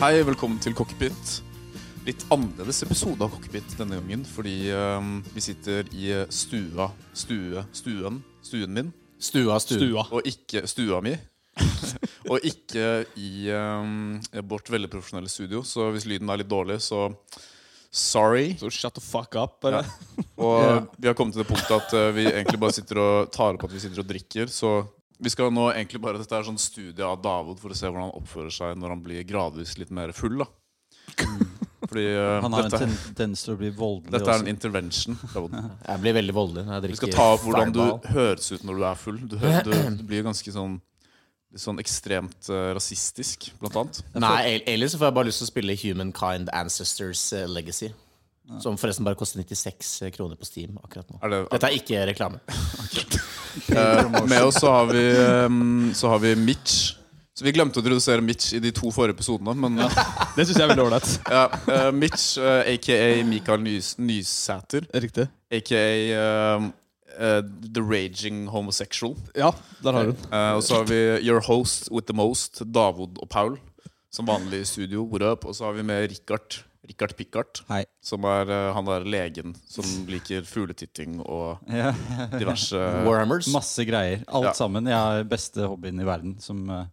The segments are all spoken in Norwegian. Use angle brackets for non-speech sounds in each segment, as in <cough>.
Hei, velkommen til Cockpit. Litt annerledes episode av Cockpit denne gangen, fordi eh, vi sitter i stua Stue Stuen. Stuen min. Stua, stua. Og ikke stua mi. <laughs> og ikke i eh, vårt veldig profesjonelle studio, så hvis lyden er litt dårlig, så sorry. Så shut the fuck up, bare. Og vi har kommet til det punktet at eh, vi egentlig bare sitter og tar opp at vi sitter og drikker. Så vi skal nå egentlig bare Dette er sånn studie av Davod for å se hvordan han oppfører seg når han blir gradvis litt mer <laughs> full. da Fordi eh, Han har en dette, ten- tendens til å bli voldelig dette er en også. intervention. Davod. Jeg blir veldig voldelig når jeg Vi drikker skal ta opp hvordan du fireball. høres ut når du er full. Du, hø- du, du blir ganske sånn Litt sånn ekstremt eh, rasistisk, blant annet. Nei, el- ellers så får jeg bare lyst til å spille Humankind Ancestors eh, Legacy. Som forresten bare koster 96 kroner på Steam akkurat nå. Er det, Dette er ikke <laughs> reklame. Eh, med oss så har vi, eh, så har vi Mitch. Så Vi glemte å introdusere Mitch i de to forrige episodene, men Det syns jeg er veldig ålreit. <laughs> Ja, eh, Mitch, eh, aka Mikael Nys Nysæter, Riktig. aka eh, eh, The Raging Homosexual. Ja, der har hun. Eh, og så har vi Your Host with the Most, Davod og Paul, som vanlig i studio. what up? Og så har vi med Richard. Richard Pickard, Hei. som er eh, han der legen som liker fugletitting og Ja. diverse Warhammers. Masse greier. Ja. Alt sammen. Jeg har beste hobbyen i verden som eh,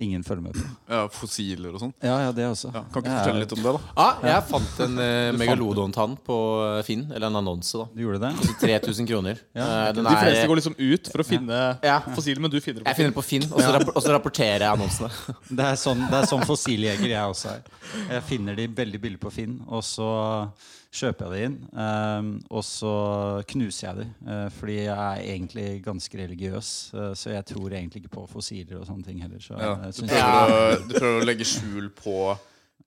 ingen følger med på. ja, fossiler og sånn. Ja, ja, det også. Ja, kan ikke du fortelle litt om det, da? Ah, jeg fant en <laughs> uh, megalodontann på eh, Finn, eller en annonse, da. Du gjorde det? <laughs> 3000 kroner. Ja. Eh, den De fleste er, går liksom ut for å finne Ja. fossilen, men du finner jeg det på. finner den på Finn, og så, rapp og så rapporterer jeg annonsene. Det er sånn, det er sånn fossiljeger jeg også er. Jeg finner de veldig billig på Finn, og så kjøper jeg de inn. ehm, og så knuser jeg de, eh, fordi jeg er egentlig ganske religiøs. eh, så jeg tror egentlig ikke på fossiler og sånne ting heller. Så Ja, jeg du, synes prøver å, du prøver å legge skjul på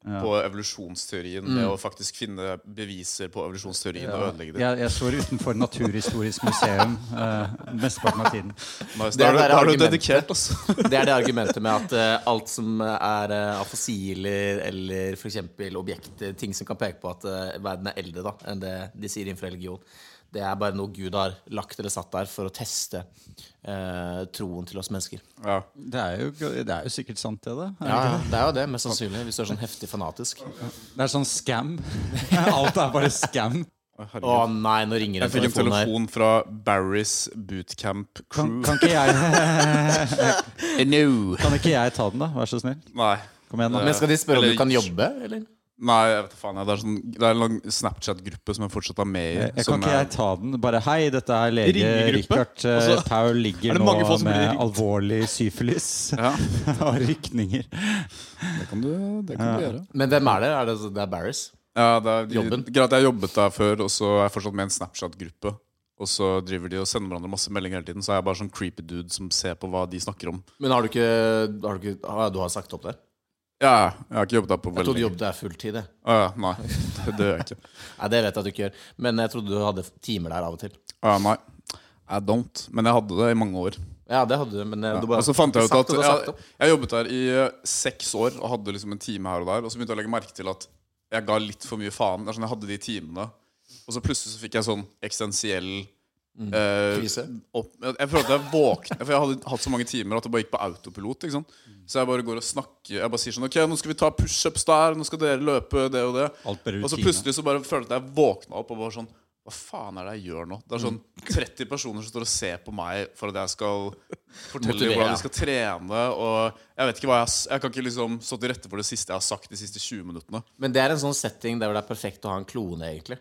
På evolusjonsteorien med å faktisk finne beviser på evolusjonsteorien og ødelegge det. Jeg, jeg står utenfor Naturhistorisk museum eh, mesteparten av tiden. Nice. Det Da er du, er da er du argumentet. dedikert, altså. Det er det argumentet med at eh, alt som er eh, av fossiler eller f.eks. objekter, eh, ting som kan peke på at eh, verden er eldre da, enn det de sier innenfor religion, det er bare noe Gud har lagt eller satt der for å teste eh, troen til oss mennesker. Ja. Det er jo, det er jo sikkert sant, det. da Det er jo det, mest sannsynlig, hvis du er sånn heftig fanatisk. Det er sånn scam. <laughs> Alt er bare scam. Å nei, nå ringer Jeg en fikk en telefon her. telefon fra Barry's bootcamp Kan, crew. kan, ikke jeg, No. kan ikke jeg ta den, da? Vær så snill. Nei. Kom igjen, da. Men skal de spørre om Eller- du kan jobbe, eller? Nei, jeg vet da faen. jeg. Det er, sånn, det er en lang Snapchat-gruppe som jeg fortsatt er med i. Jeg, jeg som kan ikke jeg ta den? Bare hei, dette er lege Ringegruppe? Richard. eh, Altså, Paul er det ligger nå mange folk som blir med ringt? alvorlig <laughs> syfilis Ja. <laughs> og rykninger. Det kan du, det kan du gjøre. Men hvem er det? Er det, det er Barris? Ja, det er, de, Jobben. greit, jeg har jobbet der før, og så er jeg fortsatt med i en Snapchat-gruppe. Og så driver de og sender hverandre masse meldinger hele tiden. Så er jeg bare sånn creepy dude som ser på hva de snakker om. Men har du ikke, har du, ikke ah, du har sagt opp der? Ja, jeg har ikke jobbet der på Jeg veldig trodde du jobbet der fulltid, jeg. Ah, ja, nei, det, det gjør jeg ikke. Nei, det vet jeg at du ikke gjør. Men jeg trodde du hadde timer der av og til. Ah, nei, I don't. Men jeg hadde det i mange år. Ja, det hadde du, men eh, du bare og så fant jeg ut Sagt at det, sagt jeg, det. jeg jobbet der i eh, seks år og hadde liksom en time her og der. Og så begynte jeg å legge merke til at jeg ga litt for mye faen. Det er sånn, jeg hadde de timene Og så plutselig så fikk jeg sånn eksistensiell eh, Mm. Krise? opp, jeg, jeg følte at jeg våknet For jeg hadde hatt så mange timer at det bare gikk på autopilot. Ikke sant? Mm. Så jeg bare går og snakker Jeg bare sier sånn OK, nå skal vi ta pushups der. Nå skal dere løpe det og det. Alt Og bare så Altså, rutine. plutselig så bare følte jeg at jeg våkna opp og var sånn Hva faen er det jeg gjør nå? Det er sånn 30 personer som står og ser på meg for at jeg skal fortelle dem Motivere. hvordan de skal trene. Og jeg vet ikke hva jeg, har s- jeg kan ikke liksom stå til rette for det siste jeg har sagt de siste 20 minuttene. Men det er en sånn setting der hvor det er perfekt å ha en klone, egentlig.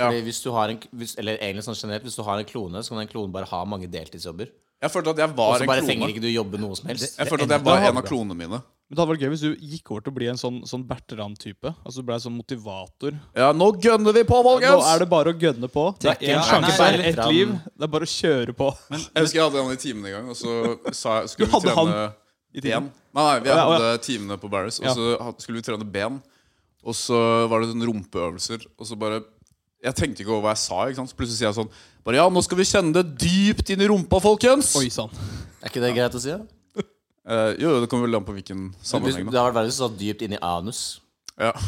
Ja. Fordi hvis du har en, hvis, eller egentlig sånn generelt, hvis du har en klone, så kan den klonen bare ha mange deltidsjobber. Jeg følte at jeg Og var så en bare klone. trenger ikke du jobbe noe som helst. Jeg følte at ender- jeg var da en hadde av det. klonene mine. Men det hadde vært gøy hvis du gikk over til å bli en sånn, sånn Bertrand-type. Altså du ble en sånn motivator. Ja, nå gønner vi på, Nå folkens! er det bare å gønne på. Det Tenker er én jeg- sjanse, Nei, det er nei, ett Bertrand. liv. Det er bare å kjøre på. Jeg husker jeg hadde en i timene en gang, og så sa jeg, skulle Du vi trene hadde han i ben. timen? Nei, nei, vi Å, ja, å, ja. hadde timene på Barris, og Ja. så had- skulle vi trene ben. Og så var det sånn rumpeøvelser, og så bare Jeg tenkte ikke over hva jeg sa, ikke sant? så plutselig sier jeg sånn bare, Ja, nå skal vi kjenne det dypt inn i rumpa, folkens! Oi sånn. sann. <laughs> Er ikke det greit å si? da? Eh, jo, det kommer vel an på hvilken Hvis, sammenheng, det da. hadde vært verre hvis du satt dypt inni anus. Ja. <laughs>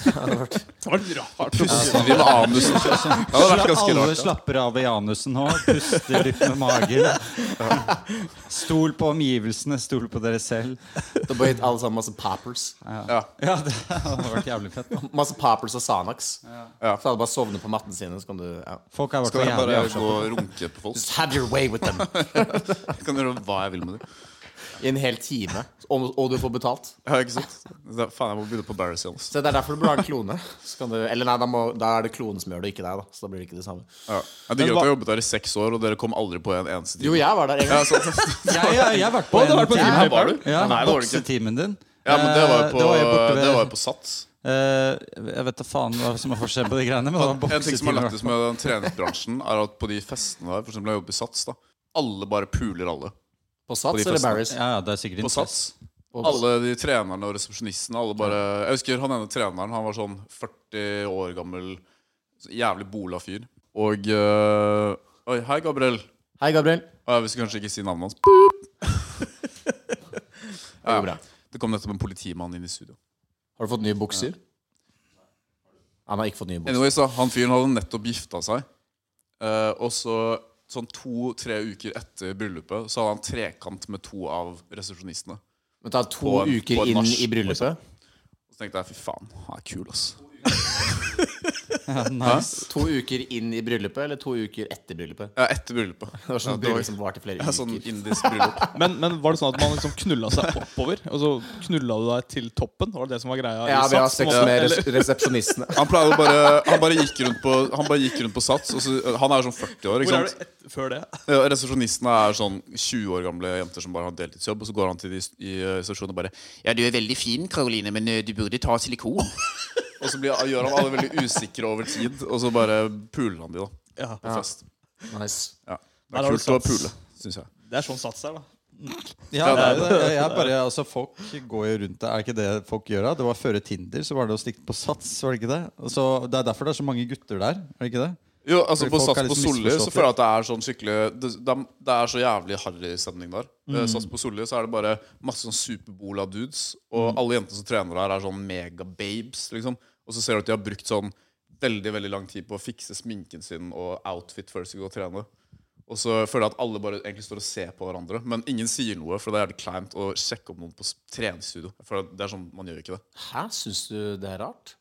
Det var litt rart. å Puster de med anusen? Det hadde vært ganske Alle rart. da. slapper av i anusen nå, puster litt med magen. Stol på omgivelsene, stol på dere selv. Da bare gitt alle sammen masse poppers. Ja, Ja, det hadde vært jævlig fett. Masse poppers og Sanax. Ja. Så alle bare sovner på mattene sine, så kan du ja. Folk er i hvert Skal fall jeg jævlig bare gå avslappet. og runke på folk? Just have your way with them Jeg kan gjøre hva jeg vil med dem. i en hel time. Og, og du får betalt. Ja, ikke sant? Det er- Faen, jeg må begynne på Barry Seals. Så det er derfor du burde ha en klone. Så kan du, eller nei, da, må, da er det klonen som gjør det, ikke deg. da Så da blir det ikke det samme. Ja. Jeg digger at jeg har jobbet der i seks år, og dere kom aldri på en eneste time. Jo, jeg var der en Ja, gang. sant, sant. Jeg, jeg, jeg har vært på Å, du har vært på en- en Her var du? <laughs> Ja, Nei, det var du ikke. boksetimen din. Ja, men det var jo Eh, på, borte ved- det var jo på Sats. Eh, Jeg vet da faen hva som er forskjellen på de greiene. Men det var En ting som er boksetime, lættis med den treningsbransjen, er at på de festene der, for eksempel når jeg jobber i Sats, da alle bare puler alle. På På Sats de eller festene. Barry's? Ja, ja, det er sikkert På incest. Sats. Og på- Alle de trenerne og resepsjonistene. Alle bare Jeg husker han ene treneren. Han var sånn 40 år gammel, så jævlig bola fyr. Og øh, Oi, hei, Gabriel. Hei, Gabriel. Ah, Jeg skal kanskje ikke si navnet hans. Det går bra. Det kom nettopp en politimann inn i studio. Har du fått nye bukser? Han har ikke fått nye bukser. Anyway, så Han fyren hadde nettopp gifta seg. Eh, og så sånn to-tre uker etter bryllupet så hadde han trekant med to av resepsjonistene. Men ta to På en- på uker en inn mars, i bryllupet. Og så tenkte jeg fy faen, han er kul, ass. Ja, nice. To uker inn i bryllupet, eller to uker etter bryllupet? Ja, etter bryllupet. <laughs> Det var sånn Ja, det var- bryllup som varte flere Ja, sånn uker. indisk bryllup. si. Men, men var det sånn at man liksom knulla seg oppover? Og så knulla du deg til toppen? Var det det som var greia? i Ja, vi har Sats? sex Måtte- med eller- res resepsjonistene. <laughs> Han pleide å bare Han bare gikk rundt på Han bare gikk rundt på Sats. Og så, han er sånn 40 år. ikke Hvor er sant? du et, før det? Ja, Resepsjonistene Eh, er sånn 20 år gamle jenter som bare har deltidsjobb. Og så går han til de s- i eh, resepsjonen og bare 'Ja, du er veldig fin, Karoline, men eh, du burde ta <laughs> silikon'. og så blir, gjør han alle veldig usikre over tid, og så bare puler han de, da. Ja. På fest. Nice. Ja. Det Der er har du kult å Sats. pule, syns jeg. Det er sånn sats her, da. Ja, det er jo det. Jeg- Jeg bare, altså, folk går jo rundt det. Er ikke det folk gjør? da? Det var Før Tinder så var det å stikke på Sats. var Det ikke det? Så det er derfor det er så mange gutter der. er det ikke det? Jo, altså Fordi På folk Sats er på liksom Solli så misforstått, føler jeg at det er sånn skikkelig Det, det, er- det er så jævlig harry stemning der. Mm. Eh, Sats på Solli så er det bare masse sånn superbola dudes. Og Mm. alle jentene som trener der, er sånn megababes. Liksom. Og så ser du at de har brukt sånn veldig veldig lang tid på å fikse sminken sin og outfit før de skal gå og trene. Og så føler jeg at alle bare egentlig står og ser på hverandre. Men ingen sier noe, for det er jævlig kleint å sjekke opp noen på s- treningsstudio. Jeg føler at Det er sånn, Man gjør ikke det. Hæ, syns du det er rart?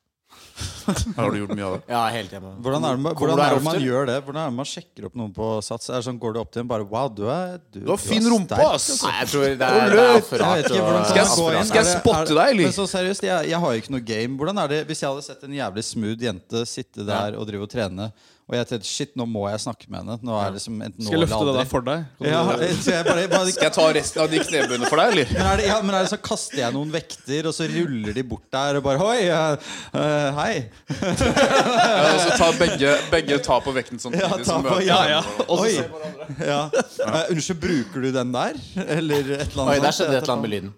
Her har du gjort mye av det. Ja, helt hjemme. Hvordan er det, man- Kommer hvordan du her er det man ofte? gjør det? Hvordan er det man sjekker opp noen på Sats? Er det sånn, Går du opp til en bare Wow, du er <laughs> Du, altså. Du har fin rumpe, ass! Nei, jeg tror det er, det er for øh, Jeg vet rart. ikke, hvordan å- Skal jeg gå inn? spotte- skal jeg Er det- spotte er det- deg, eller? Men så seriøst, jeg, jeg har jo ikke noe game. Hvordan er det Hvis jeg hadde sett en jævlig smooth jente sitte der og drive og trene, og jeg tenkte shit, nå må jeg snakke med henne. Nå er det som enten nå Skal jeg eller løfte det aldri. der for deg? Ja, så jeg bare, bare Skal jeg ta resten av de knebøyene for deg, eller? men er, det, ja, men er det så kaster jeg noen vekter, og så ruller de bort der og bare Hoi! eh, eh, hei! Ja, og så tar begge, begge tar på vekten samtidig. Ja, ta så på møter- ja, ja. Og Oi. så Ja. Eh, unnskyld, bruker du den der? Eller et eller annet? Oi, der sånt? skjedde et eller annet med lyden.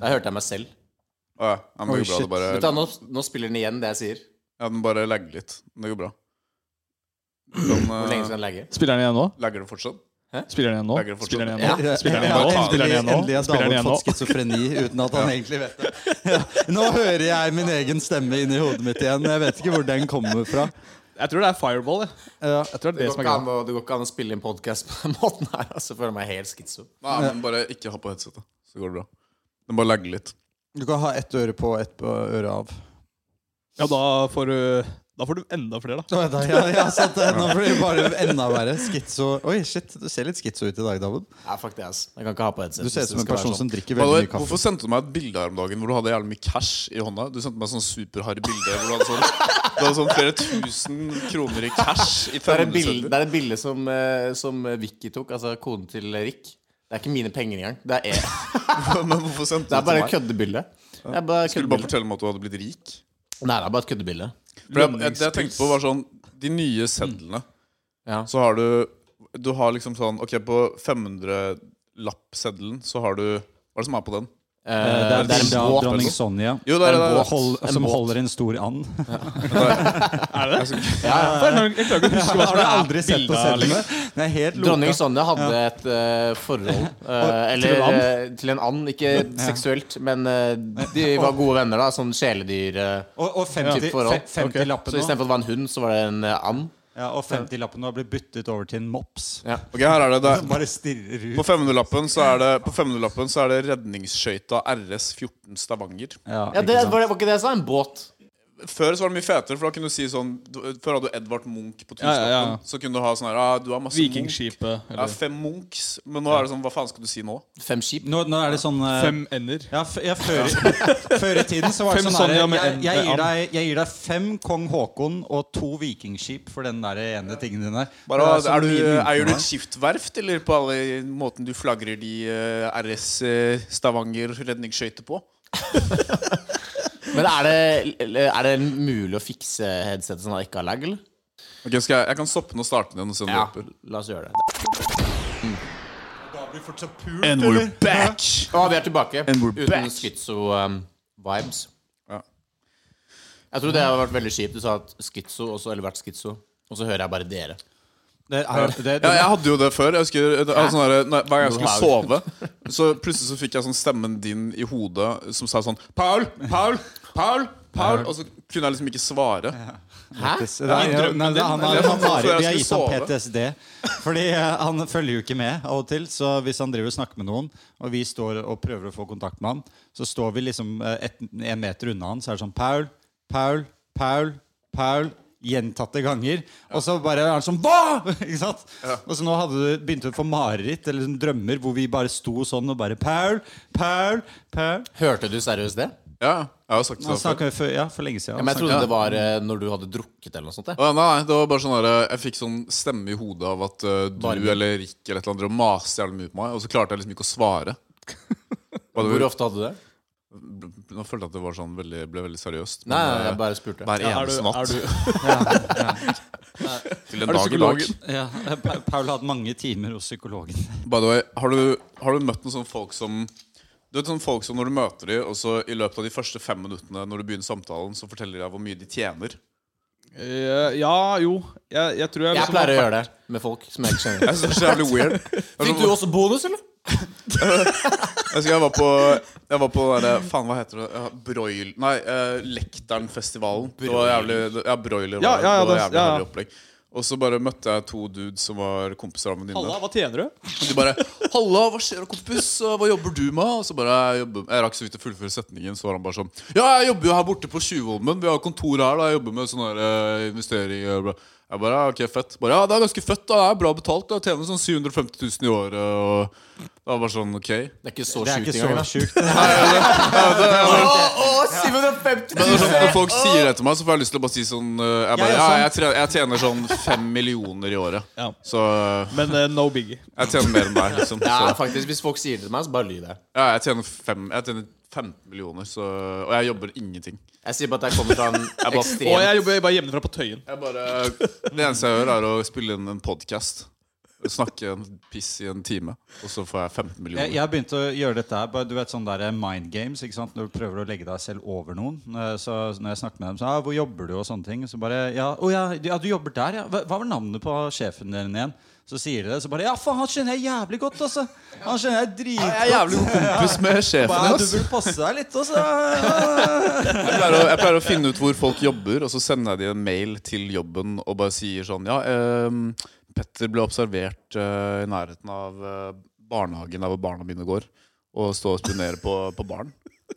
Der hørte jeg meg selv. Ja, ja, men det Oi, går bra. shit. Det bare, Vet du, hva, nå, nå spiller den igjen det jeg sier. ja, den bare lagger litt. Men Det går bra. Den, Hvor lenge eh, skal den legge? Spiller den igjen nå? lagger det fortsatt? Spiller den igjen Lager det nå? fortsatt. Spiller den igjen Ja. nå? Spiller den igjen Ja, nå? endelig- Spiller den igjen nå? Endelig har Spiller den David igjen nå? fått schizofreni uten at han egentlig vet det. Ja. Nå hører jeg min egen stemme inni hodet mitt igjen. Jeg vet ikke hvor den kommer fra. Jeg tror det er fireball. jeg. Ja. Jeg tror det er Det det går, som er ikke an greia. å, det går ikke an å spille inn podkast på den <laughs> måten her. Altså, føler jeg meg helt skizzo. Nei, men bare ikke ha på headsetet. Så går det bra. Den bare lagger litt. Du kan ha ett øre på, ett på øret av. Ja, da får du Da får du enda flere, da. Å, da- Ja, ja, sant det. Nå blir det bare enda verre. Skitso. Oi, shit, du ser litt skitso ut i dag, David. Ja, fuck det, ass. Jeg kan ikke ha på headset. Du ser hvis ut som en skal være sånn. person som drikker By the veldig way, mye kaffe. Hvorfor sendte du meg et bilde her om dagen hvor du hadde jævlig mye cash i hånda? Du sendte meg sånn superharry bilde hvor du hadde sånn, du hadde sånn flere tusen kroner i cash. I Det er et 500 bilde, sedler. det er et bilde som, eh, som Vicky tok, altså konen til Rick. Det er ikke mine penger engang. Det <laughs> er, <laughs> Men hvorfor sendte det du er det bare til et meg? køddebilde. Det er bare et Skulle du bare køddebilde. fortelle meg at du hadde blitt rik? Nei, det er bare et køddebilde. For jeg, jeg, det jeg tenkte på var sånn De nye sedlene Ja. Så har du Du har liksom sånn Ok, på 500 lappseddelen Så har du Hva er det som er på den? Eh, Eh, Det er, det er en bilde av båt. dronning Sonja Jo, det er det. det, hold, En som båt. <laughs> holder en stor and. Er det Altså, det? For Jeg jeg klarer ikke å huske hva Har som du er aldri sett på bildet av selve? Alex. Det er helt Dronning loka. Sonja hadde et eh, forhold eh, eller, til en and? eh, til en and. Ikke seksuelt, men eh, de var gode venner, da. Sånn kjæledyr eh. Og, og 50 Typ forhold. fe- 50-lappen Så istedenfor at det var en hund, så var det en eh, and. nå ja, Og 50-lappen nå blir byttet over til en mops. Ok, her er det, det Som bare stirrer ut. På 500-lappen så er det På 500-lappen så er det redningsskøyta RS14 Stavanger. Ja, det ikke sant? var, det, var ikke det jeg sa? En båt. Før så var det mye fetere, for da kunne du si sånn du, Før hadde du Edvard Munch på Ja, ja, tusenlappen. ja. Så kunne du ha sånn her ah, Du har masse Munch. Vikingskipet. Ja, Eller fem Munchs. Men nå er det sånn Hva faen skal du si nå? Fem skip. nå, nå er det sånn eh, fem ender. ja, f ja, før, i- før i tiden så var det Fem sånn Sonja her, med jeg, en- jeg, med gir deg, jeg gir deg fem kong Haakon og to vikingskip for den der ene tingen din der. Bare, Det er sånn du, eh, mye myntene eier du er. et skiftverft, eller på alle måten du flagrer de eh, RS eh, Stavanger redningsskøyter på? Men er det, eller er det mulig å fikse headsetet sånn at det ikke har lag, eller? Ok, skal jeg, jeg kan stoppe den og starte den og se om det hjelper. La oss gjøre det. And we're back! Å, vi er tilbake. And we're back. Uten schizo-vibes. Ja. Jeg tror det har vært veldig kjipt. Du sa at schizo, og så eller vært schizo. Og så hører jeg bare dere. Det er- det- det- Ja, jeg hadde jo det før. Jeg husker, det var sånn der, nei, hver gang jeg Nå skulle sove, så plutselig så fikk jeg sånn stemmen din i hodet som sa sånn Paul! Paul! Paul! Paul! Og så kunne jeg liksom ikke svare. Hæ? det er- ja, nei, det- han har- det- han har- for jeg Vi har gitt skulle ham sove. PTSD. Fordi eh, han følger jo ikke med av og til. Så hvis han driver og snakker med noen, og vi står og prøver å få kontakt med han, så står vi liksom eh, et, en meter unna han, så er det sånn Paul, Paul, Paul, Paul. Gjentatte ganger. Og så bare er han sånn Hva?! <laughs> Ikke sant? Og så nå hadde du begynt å få mareritt eller sånn drømmer hvor vi bare sto sånn og bare Paul, Paul, Paul. Hørte du seriøst det? Ja, jeg har jo sagt Han det før. snakka for, ja, for lenge siden. Men jeg trodde det var eh, når du hadde drukket eller noe sånt. jeg. Å, Nei, nei, det var bare sånn der, Jeg fikk sånn stemme i hodet av at eh, du Varme. eller Rick eller et eller annet drev og maste jævlig mye på meg, og så klarte jeg liksom ikke å <laughs> svare. Og det Hvor var- ofte hadde du det? Nå følte jeg at det var sånn veldig, ble veldig seriøst. Nei, men, eh, jeg bare spurte. hver Ja, er eneste du- natt. er du- Til en dag i Er du dag. psykologen? Ja, Pa- Paul hadde mange timer hos psykologen. By the way, har du, har du møtt noen sånne folk som Du vet sånne folk som når du møter dem, og så i løpet av de første fem minuttene når du begynner samtalen, så forteller de deg hvor mye de tjener? Eh, Ja, jo. Jeg, jeg tror jeg, Jeg liksom pleier å har- gjøre det med folk som jeg ikke kjenner. Jeg synes det er så jævlig weird. Det er <laughs> Fikk du sånn- også bonus, eller? Jeg husker jeg var på, jeg var på den der, Faen, hva heter det? Ja, Broil... Nei, eh, Lekternfestivalen. Det var jævlig Ja, Broiler. var Ja, det. ja, ja, det var det- jævlig ja, ja. herlig opplegg. Og så bare møtte jeg to dudes som var kompiser av en venninne. Halla, hva tjener du? Og De bare 'Halla, hva skjer, kompis? Hva jobber du med?' Og så bare jeg, jobber, jeg rakk så vidt å fullføre setningen, så var han bare sånn 'Ja, jeg jobber jo her borte på Tjuvholmen. Vi har kontor her. da Jeg jobber med sånne uh, investeringer.' og bla.» Jeg bare «Ja, 'Ok, fett.' Bare 'Ja, det er ganske fett. da Det er bra betalt. Da. Jeg tjener sånn 750 000 i året.' Og det var bare sånn 'Ok'. Det er ikke så Det er sjukt ikke så engang. da. sjukt. Å, å, 750 Men når, 000! når folk sier det til meg, så får jeg lyst til å bare si sånn eh, Jeg, bare, Jeg er ja, sånn. jeg, tre- jeg tjener sånn fem millioner i året. Ja. Så eh, Men eh, no biggie. jeg tjener mer enn deg, liksom. Ja, Så, faktisk, Hvis folk sier det til meg, så bare lyver jeg. ja, jeg tjener fem Jeg tjener 15 millioner, så, og jeg jobber ingenting. Jeg sier bare at jeg kommer fra en Og ekstrem jeg jobber bare hjemmefra på Tøyen. Jeg bare, det eneste jeg gjør, er å spille inn en podkast. Snakke en piss i en time, og så får jeg 15 Jeg, millioner. jeg har begynt å gjøre dette her. bare Du vet sånn der mind games. ikke sant? Når du prøver å legge deg selv over noen. Eh, Så når jeg snakker med dem, så ah, 'Hvor jobber du?' og sånne ting. Så bare ja, 'Å ja, ja, du jobber der, ja.' Hva, hva var navnet på sjefen din igjen? Så sier de det. Så bare 'Ja, faen, han kjenner jeg jævlig godt, altså'. Han kjenner jeg Jeg er dritgodt. jævlig god kompis med sjefen Bare, din. du ass. burde passe deg litt, altså. Ja, ja, ja. Jeg pleier, å, jeg pleier å finne ut hvor folk jobber, og så sender jeg de en mail til jobben og bare sier sånn Ja, ehm, Petter ble observert eh, i nærheten av eh, barnehagen der hvor barna mine går, og står og spionerer på, på barn.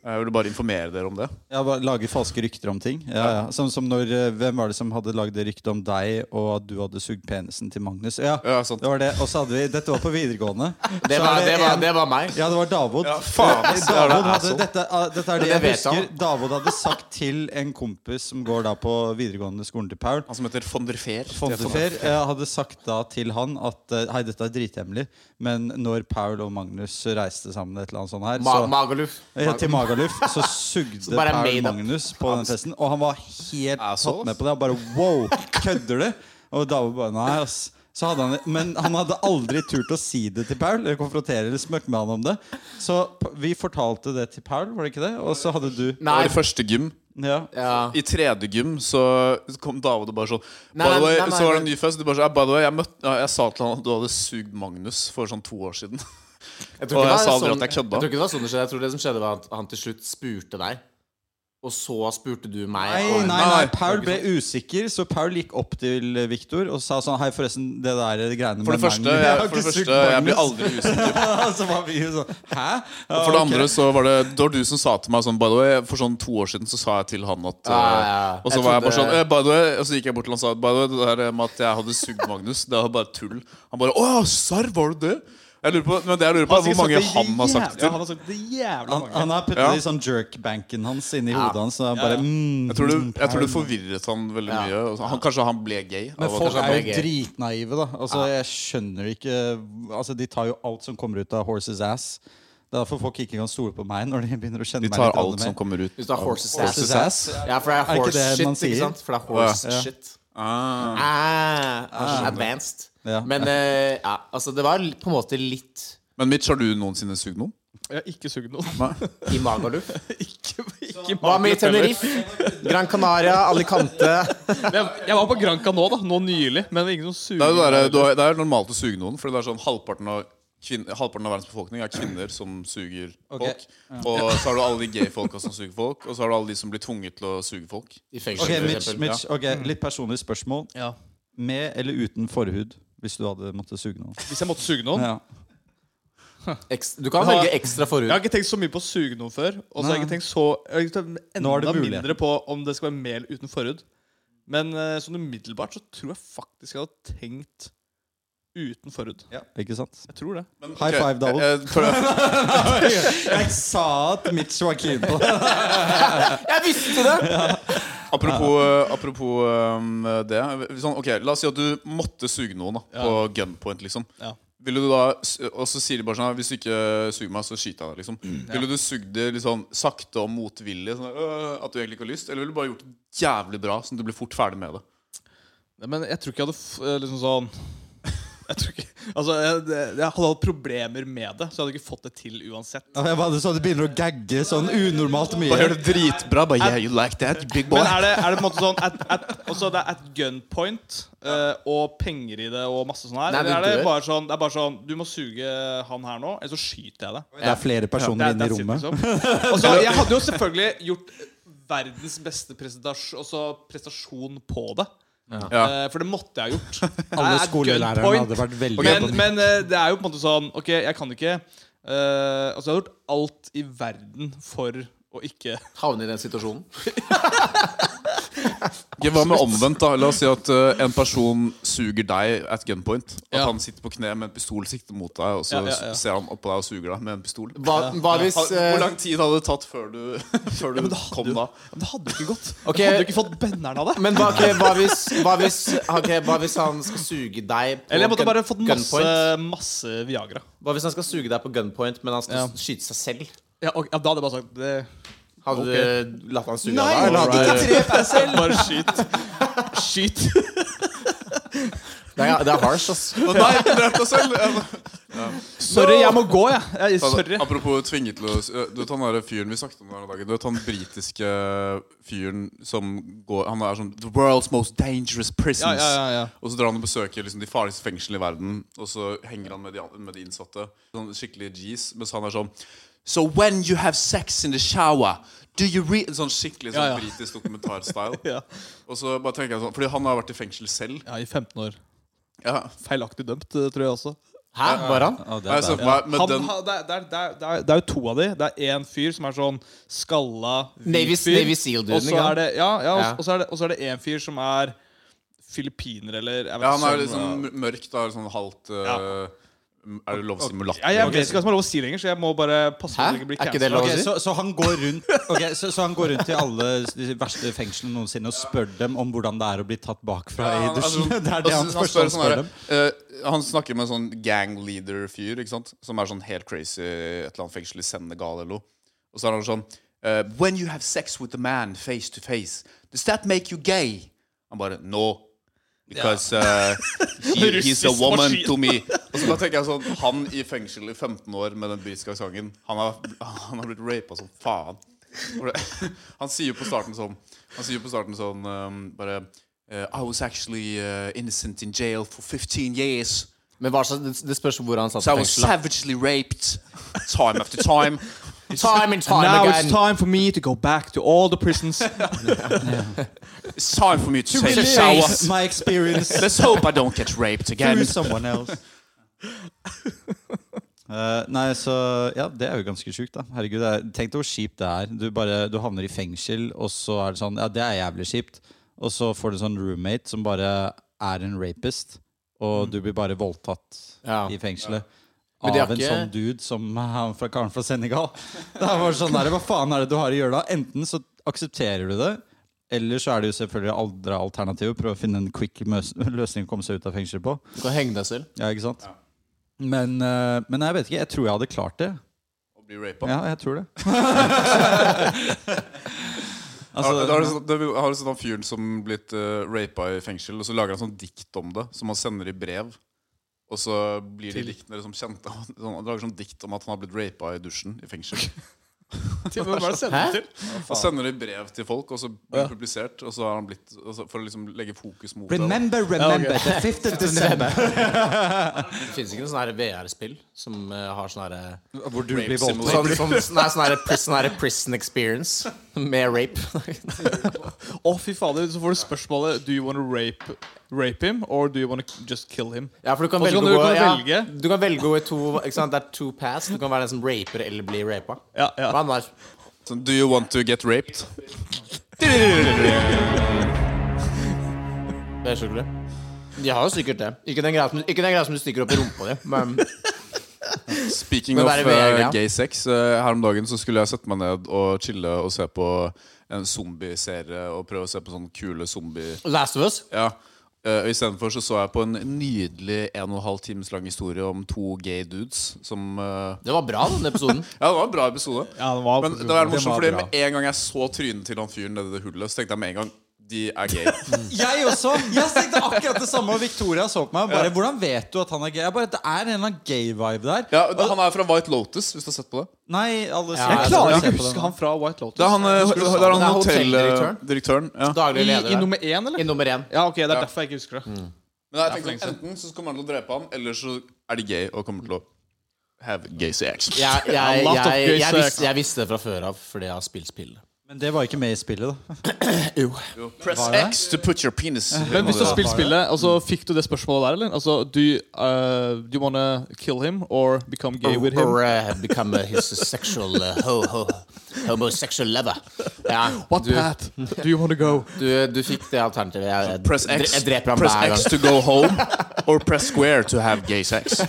Jeg ville bare informere dere om det. Ja, bare Lage falske rykter om ting. Ja, ja. Som, som når, eh, hvem var det som hadde lagd det ryktet om deg, og at du hadde sugd penisen til Magnus? Ja, Ja, sant. det var det. Og så hadde vi, Dette var på videregående. Det Så var, er det, var, en- det var meg. Ja, det var Davod. Ja, <laughs> faen, ass, det er det Davod hadde, asshole. dette, ah, dette er det Men det jeg vet husker. han. Davod hadde sagt til en kompis som går da på videregående skolen til Paul Han som heter von der Feer. Fontefer eh, hadde sagt da til han at eh, Hei, dette er drithemmelig, men når Paul og Magnus reiste sammen et eller annet sånt her, Ma så Magaluf. ja, til Magaluf. <laughs> Så sugde bare Paul made up. Magnus på den festen. Og han var helt Assholes. tatt med på det. Og bare wow, kødder du? Og David bare nei, ass. Så hadde han, men han hadde aldri turt å si det til Paul. Eller konfrontere eller smørte med han om det Så p- vi fortalte det til Paul, var det ikke det? Og så hadde du Det Nei, var i første gym. ja. ja. I tredje gym så kom David og bare sånn Nei, By the way, nei, nei, Så var det en men- ny fest. Du bare sånn «Ja, By the way, jeg, møtte, ja, jeg sa til han at du hadde sugd Magnus for sånn to år siden. Jeg Og jeg det var sa aldri at jeg kødda. tror ikke det var sånn det skjedde. Jeg tror det som skjedde, var at han til slutt spurte deg, og så spurte du meg. Nei, og- nei, nei, Paul ble usikker, så Paul gikk opp til Victor og sa sånn Hei, forresten, det der greiene For det første, Magnus- jeg, har for det ikke sugd første, jeg blir Magnus.» <laughs> aldri usikker. Så var vi jo sånn Hæ? Og Ah, for det andre så var det Det var du som sa til meg sånn By the way, for sånn to år siden så sa jeg til han at Ja, ja, ja. eh, Og så Jeg var jeg bare trodde- sånn eh, By the way Og så gikk jeg bort til han og sa By the way, det der med at jeg hadde sugd Magnus, det var bare tull. Han bare Å ja, serr, var du det? Jeg lurer på, men det jeg lurer på, er hvor mange han har sagt det Ja, til. han har sagt det Altså, jævla Han, mange. han har puttet Ja. i sånn jerk-banken hans inni Ja. hodet hans. Så han bare, ja. mm, Jeg tror, det, jeg tror det forvirret han veldig Ja. mye. og så- Han, kanskje han ble gay. Men av at folk han- er det jo er gøy. dritnaive, da. Altså, jeg skjønner ikke Altså, De tar jo alt som kommer ut av horses ass. Det er derfor folk ikke kan stole på meg når de begynner å kjenne de meg tar litt alt som mer. kommer ut. Hvis du har horses ass. Horses ass. Ja, for det er Er ikke horse det shit, man ikke sier? sant? For det er horse Ja. shit. Ah. Ah, advanced. Ja. Men eh, ja, altså, det var på en måte litt Men Mitch, har du noensinne sugd noen? Jeg har ikke sugd noen. i Magaluf. <laughs> ikke, ikke Hva med Magaluf heller. Tenerife? Gran Canaria, Alicante Men Jeg, jeg var på Granca nå, da. Nå nylig. Men ingen som suger. Det er jo det der- du har- det er jo normalt å suge noen, Fordi det er sånn halvparten av kvin- Halvparten av verdens befolkning er kvinner som suger folk. Ok. Og så har du alle de gayfolka som suger folk, og så har du alle de som blir tvunget til å suge folk. I fengsel, Ok, for Mitch, eksempel. Mitch, ok, Litt personlig spørsmål. Ja. Med eller uten forhud? Hvis du hadde måttet suge noen. Hvis jeg måtte suge Sånn. noen Ja. Eks- Du kan velge ekstra forhud. Jeg har ikke tenkt så mye på å suge noen før. Og så har jeg ikke tenkt så Jeg har ikke tenkt Nå er det enda mulighet. mindre på om det skal være mel uten forhud. Men eh, sånn umiddelbart så tror jeg faktisk jeg hadde tenkt uten forhud. Ikke sant? Jeg tror det. Men, High ok, five, Dahl. eh, for <laughs> det- Jeg sa at Mitch var keen på det. Jeg visste det! Apropos, eh, apropos um, det sånn, Ok, La oss si at du måtte suge noen da, på gunpoint, liksom. Ja. Ville du da, s- og så sier de bare sånn Hvis du ikke suger meg, så skyter jeg deg. liksom Mm. Ville du sugd det litt sånn sakte og motvillig? Sånn, øh, at du egentlig ikke har lyst Eller ville du bare gjort det jævlig bra, sånn at du blir fort ferdig med det? Nei, Men jeg tror ikke jeg hadde f eh, liksom <laughs> sånn Jeg tror ikke Altså, jeg, det- jeg hadde hatt problemer med det, så jeg hadde ikke fått det til uansett. Jeg bare så at det begynner å gagge sånn unormalt Bare mye. gjør det dritbra. Bare, yeah, you like that, big boy Men er det, er det på en måte sånn at, at, <laughs> også det er at gunpoint eh, og penger i det og masse sånn her? Nei, du eller er det dør. bare sånn, det er bare sånn Du må suge han her nå, eller så skyter jeg deg. Det er flere personer inne i that's it, rommet. <laughs> liksom. Og så, jeg hadde jo selvfølgelig gjort verdens beste presentasj- også prestasjon på det. Ja. Eh, for det måtte jeg ha gjort. <laughs> Alle Det er skolelærerne gunpoint. hadde vært veldig Men, men eh, det er jo på en måte sånn Ok, jeg kan ikke eh, Altså, jeg har gjort alt i verden for å ikke <laughs> Havne i den situasjonen. Ok, Hva med omvendt, da? La oss si at eh, en person suger deg at gunpoint. At Ja. han sitter på kne med en pistol siktet mot deg, og så Ja, ja, ja. ser han opp på deg og suger deg med en pistol. Hva, hva hvis Ha- Hvor eh, lang tid hadde det tatt før du, før du kom da? Men det hadde jo ikke gått. Ok. Jeg hadde jo ikke fått benneren av det. Men hva, ok, hva, hvis, hva, hvis, ok, hva hvis han skal suge deg på Eller jeg måtte gun- bare fått masse, gunpoint? masse Viagra. Hva hvis han skal suge deg på gunpoint, men han skal Ja. skyte seg selv? Ja, og, ja, da hadde jeg bare sagt det. Hadde du latt han suge Nei, deg? da, eller hadde du- trep deg selv! <laughs> Bare skyt. Skyt. Det er, det er harsh, ass. Nei, du drepte deg selv! Ja. Sorry, jeg må gå, jeg. jeg Altså, sorry. Apropos tvinge til å Du vet han der fyren vi snakket om den dagen Du vet han britiske eh, fyren som går Han er sånn The world's most dangerous Ja, prisons ja, ja, ja. Og så drar han og besøker liksom, de farligste fengslene i verden Og så henger han med de, an- med de innsatte Sånn skikkelig G's Mens han er sånn So when you have sex in the shower Do you re Sånn skikkelig sånn Ja, ja. britisk dokumentarstyle Ja. Og så bare tenker jeg sånn Fordi han har vært i fengsel selv ja, i 15 år. Ja Feilaktig dømt, eh, tror jeg også. Hæ, var han? Å, det Jeg er ser bad. for meg med Han, den- ha- det, er, det, er, det, er, det, er, det er jo to av de. Det er én fyr som er sånn skalla hvit Navy- fyr. Navy Seal-duden, Og så ikke sant? er det- ja, ja, og- Ja. og så er det- og så er det én fyr som er filippiner, eller jeg vet Ja, han ikke, er sånn, liksom mørk, da. Sånn halvt eh, Ja. Er det lov å si mulatt? ja, Jeg vet ikke hva som er lov å si lenger, så jeg må bare passe på Hæ? at jeg ikke blir Er ikke det cancelled. lov å Ok, si? så, så han går rundt Ok, så, så han går rundt til alle de verste fengslene noensinne og spør dem om hvordan det er å bli tatt bakfra i dusjen. <laughs> Det er det Altså, han, altså, han første spør han sånn spør her, dem. eh, han snakker med en sånn gangleader-fyr Ikke sant? som er sånn helt crazy et eller annet fengsel i Senegal eller noe. Og så er han sånn eh, When you have sex with a man face to face, does that make you gay? Han bare No. Because uh, he, he's a Russisk woman maskin. to me. Og så da tenker jeg sånn Han i fengsel i 15 år med den britiske aksenten, han, har- han har blitt rapa som faen. For det- <laughs> Han sier jo på starten sånn Han sier jo på starten sånn um, bare eh, I was actually uh, innocent in jail for 15 years. Men hva slags, det- det spørs hvor han satt So I i was fengsel. da. savagely raped time after time. Time and time Now it's again. time for me to go back to all the prisons. It's time for me to take a shower. Release my experience Let's hope I don't get raped through <laughs> again. someone else. <laughs> Eh, nei, så Ja, det er jo ganske sjukt, da. Herregud, det er, tenk deg hvor kjipt det er. Du, bare, du havner i fengsel, og så er det sånn Ja, det er jævlig kjipt. Og så får du sånn roommate som bare er en rapist, og du blir bare voldtatt Mm. Ja. i fengselet. Men det er Av en ikke- sånn dude som <laughs> han fra karen fra Senegal. Det er bare sånn der, Hva faen er det du har å gjøre da? Enten så aksepterer du det, eller så er det jo selvfølgelig andre alternativer. Prøve å finne en quick møs- løsning å komme seg ut av fengsel på. Du kan henge deg <laughs> selv. Ja, ikke sant? Men, eh, men jeg vet ikke, jeg tror jeg hadde klart det. Å bli rapet. Ja, jeg tror det. Har- da altså, har, du sånn, da har du sånn han fyren som blitt uh, rapa i fengsel, og så lager han sånn dikt om det, som han sender i brev. Og så blir de diktene liksom kjente. Han, <laughs> sånn, han lager sånn dikt om at han har blitt rapa i dusjen i fengsel. <laughs> Til hvem er det å sende Hæ? til? Han sender det i brev til folk, og så blir det publisert. Og så har han blitt, og så, for å liksom legge fokus mot det. remember, remember, the 5th of December. Det fins ikke noe sånn her VR-spill som eh, har sånn herre Hvor du blir Rape voldtatt. simulator. Sånn, sånn, nei, sånn her prison, her prison experience med rape. <laughs> Å, fy fader, så får du spørsmålet Do you want to rape, rape him, or do you want to just kill him? Ja, for du kan Og så velge, kan du- å gå- kan du ja, velge. du kan velge å gå i to ikke sant? Det er two pass. Du kan være den som raper eller blir rapa. Ja, ja. Hva er det der? Sånn, Do you want to get raped? Det er sjokolade. De har jo sikkert det. Ikke den greia som, ikke den greia som du stikker opp i rumpa di. Men <laughs> Speaking Men of bare ved, eh, ja. gay sex, eh, her om dagen så skulle jeg sette meg ned og chille og se på en zombieserie og prøve å se på sånne kule zombie... Last of Us Ja. eh, Og Istedenfor så, så jeg på en nydelig en og en halv times lang historie om to gay dudes som eh, Det var bra, den episoden. Ja, det var en bra episode. Ja, det var Men det var Den morsomt, var fordi bra. med en gang jeg så trynet til han fyren nedi det hullet, så tenkte jeg med en gang de er gay. <laughs> Jeg også! Jeg tenkte akkurat det samme, og Victoria så på meg. og Bare, hvordan vet du at han er gay? Jeg bare, Det er en eller annen gay-vibe der. Ja, Han er fra White Lotus, hvis du har sett på det. Nei, Ja, jeg alle sier- Jeg klarer klarer alle ser ikke å på den. huske han fra White Lotus. Det er han, eh, Jeg det husker du sa er det. han Det er hotelldirektøren. hotelldirektøren. Ja. Daglig I, leder I der. nummer én, eller? I nummer én. Ja, ok, det er derfor jeg ikke husker det. Men jeg tenkte sånn, Enten så kommer han til å drepe han, eller så er de gay og kommer til å have gay sex. Jeg, jeg, A jeg, lot of jeg, gay sex. visste, jeg visste det fra før av fordi jeg har spilt spillet. Men det var ikke med i spillet, da. Jo. Press Var det? X to put your penis Men hvis du har Det- spilt spillet, altså, fikk du det spørsmålet der, eller? Altså, do you, uh, do you wanna kill him, or become gay with him? Or uh, become uh, his sexual uh, ho, ho, homosexual lover. Ja, What du, path <laughs> do you wanna go? du, du fikk det alternativet. Jeg, jeg, Press dre- X, jeg dreper ham press hver gang. X to go home, or press square to have gay sex.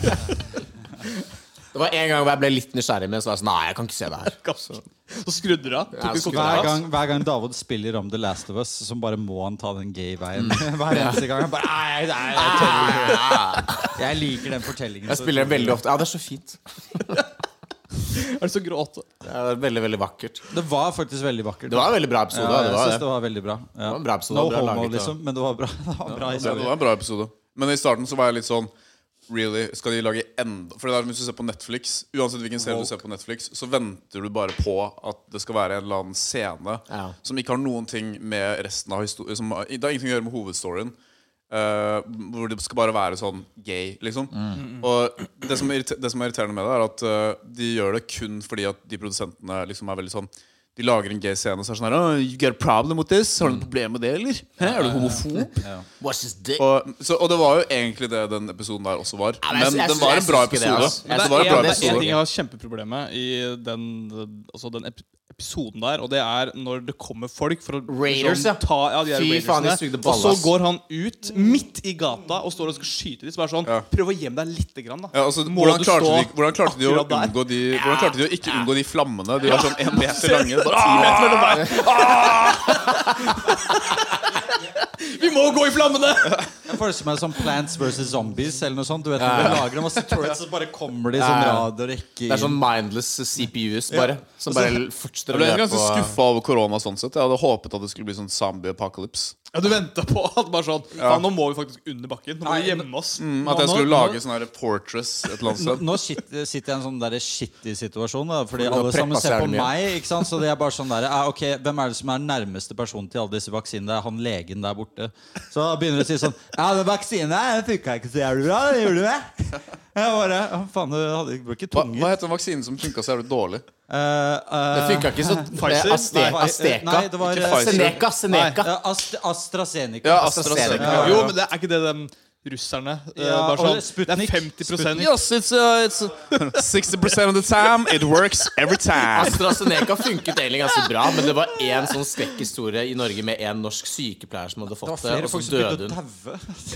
Det var en gang hvor jeg ble litt nysgjerrig, men så var jeg sånn Nei, jeg kan ikke se det her. Så skrudde du av. Tok Jeg en skrudde kontroll. Hver gang, hver gang David spiller om The Last of Us, så bare må han ta den gay-veien. <laughs> Hver eneste gang. Han bare, nei, nei, jeg tør ikke». Jeg liker den fortellingen. Ah, Jeg så- spiller det veldig ofte. Ja, det er så fint. Er det så gråt? Det er veldig, veldig vakkert. Det var faktisk veldig vakkert. Det var en veldig bra episode. ja, det jeg var synes det. det var veldig bra. Ja. var en bra episode, No bra homo, laget, da. liksom, men det var bra. <laughs> Det var bra Ja, det historie. var en bra episode. Men i starten så var jeg litt sånn Really, skal de lage enda For det er, Hvis du ser på Netflix, uansett hvilken serie du ser på Netflix, så venter du bare på at det skal være en eller annen scene Ja. som ikke har noen ting med resten av historien som, har- Det har ingenting å gjøre med hovedstoryen. eh, hvor det skal bare være sånn gay, liksom. Og det som, er irriter- det som er irriterende med det, er at eh, de gjør det kun fordi at de produsentene liksom er veldig sånn De lager en gay scene og så er det sånn her oh, You got a problem with this? Har du noe problem med det, eller? Hæ? Er du homofob? What's his dick? Og, så, og det var jo egentlig det den episoden der også var. men men jeg- jeg den synes- var jeg en bra synes ikke det, episode. ass. Men Jeg Altså, det synes- var en jeg- bra Det det- er en ting episode jeg har kjempeproblem med i den, altså den ep- episoden der, og det er når det kommer folk for å Raiders, ja. liksom, ta ja, de der Fy faen, de raidersene, sugde Og så ballass. går han ut midt i gata og står og skal skyte dem. Så er det sånn Ja. Prøv å gjemme deg lite grann, da. ja, altså, Må hvordan, du klarte stå de, hvordan klarte de å akkurat der? unngå de Hvordan klarte de å ikke unngå de flammene? De var sånn en <laughs> meter lange. Det er Bare, ti Ah. meter mellom hver. Vi må gå i flammene! Jeg forestiller meg som Plants versus Zombies eller noe sånt. Du vet, når du lager masse turrets, så bare kommer de i sånn Ja. rad og rekke Det er sånn inn. mindless CPUs, bare. Altså, Som bare Jeg fortsetter å ble løpe ganske og skuffa over korona sånn sett. Jeg hadde håpet at det skulle bli sånn zombie apocalypse. Ja, du venta på at bare sånn Ja. Faen, nå må vi faktisk under bakken. Nå må vi gjemme oss. Mm, at jeg Nå- nå- skulle lage sånn her Fortress et eller annet Nå sted. nå sitter, sitter jeg i en sånn der skittig situasjon, da, fordi du har alle sammen preppa ser så på jævlig mye. meg. Ikke sant? Så det er bare sånn der, ah, ok, Hvem er det som er nærmeste person til alle disse vaksinene? Det er han legen der borte. Så da begynner du å si sånn Ja, den vaksinen her funka ikke så jævlig bra. Det gjorde det. Jeg bare «Å, Faen, du hadde ikke Eh, brukt Hva, tunge. hva heter den vaksinen som funka så jævlig dårlig? Det funka ikke så Pfizer? Aste Nei, Asteka. nei, det var- Ikke Pfizer. Seneca. Seneca. Eh, Ast AstraZeneca. Ja, AstraZeneca. AstraZeneca. Jo, men det er ikke det de russerne eh, Ja, bare sånn, og Det er Sputnik. 50 Yes, it's, uh, it's 60% of the time It works every time AstraZeneca funket egentlig ganske bra, men det var én sånn skrekkhistorie i Norge med en norsk sykepleier som hadde Det var fått det, og flere så folk som døde begynte hun.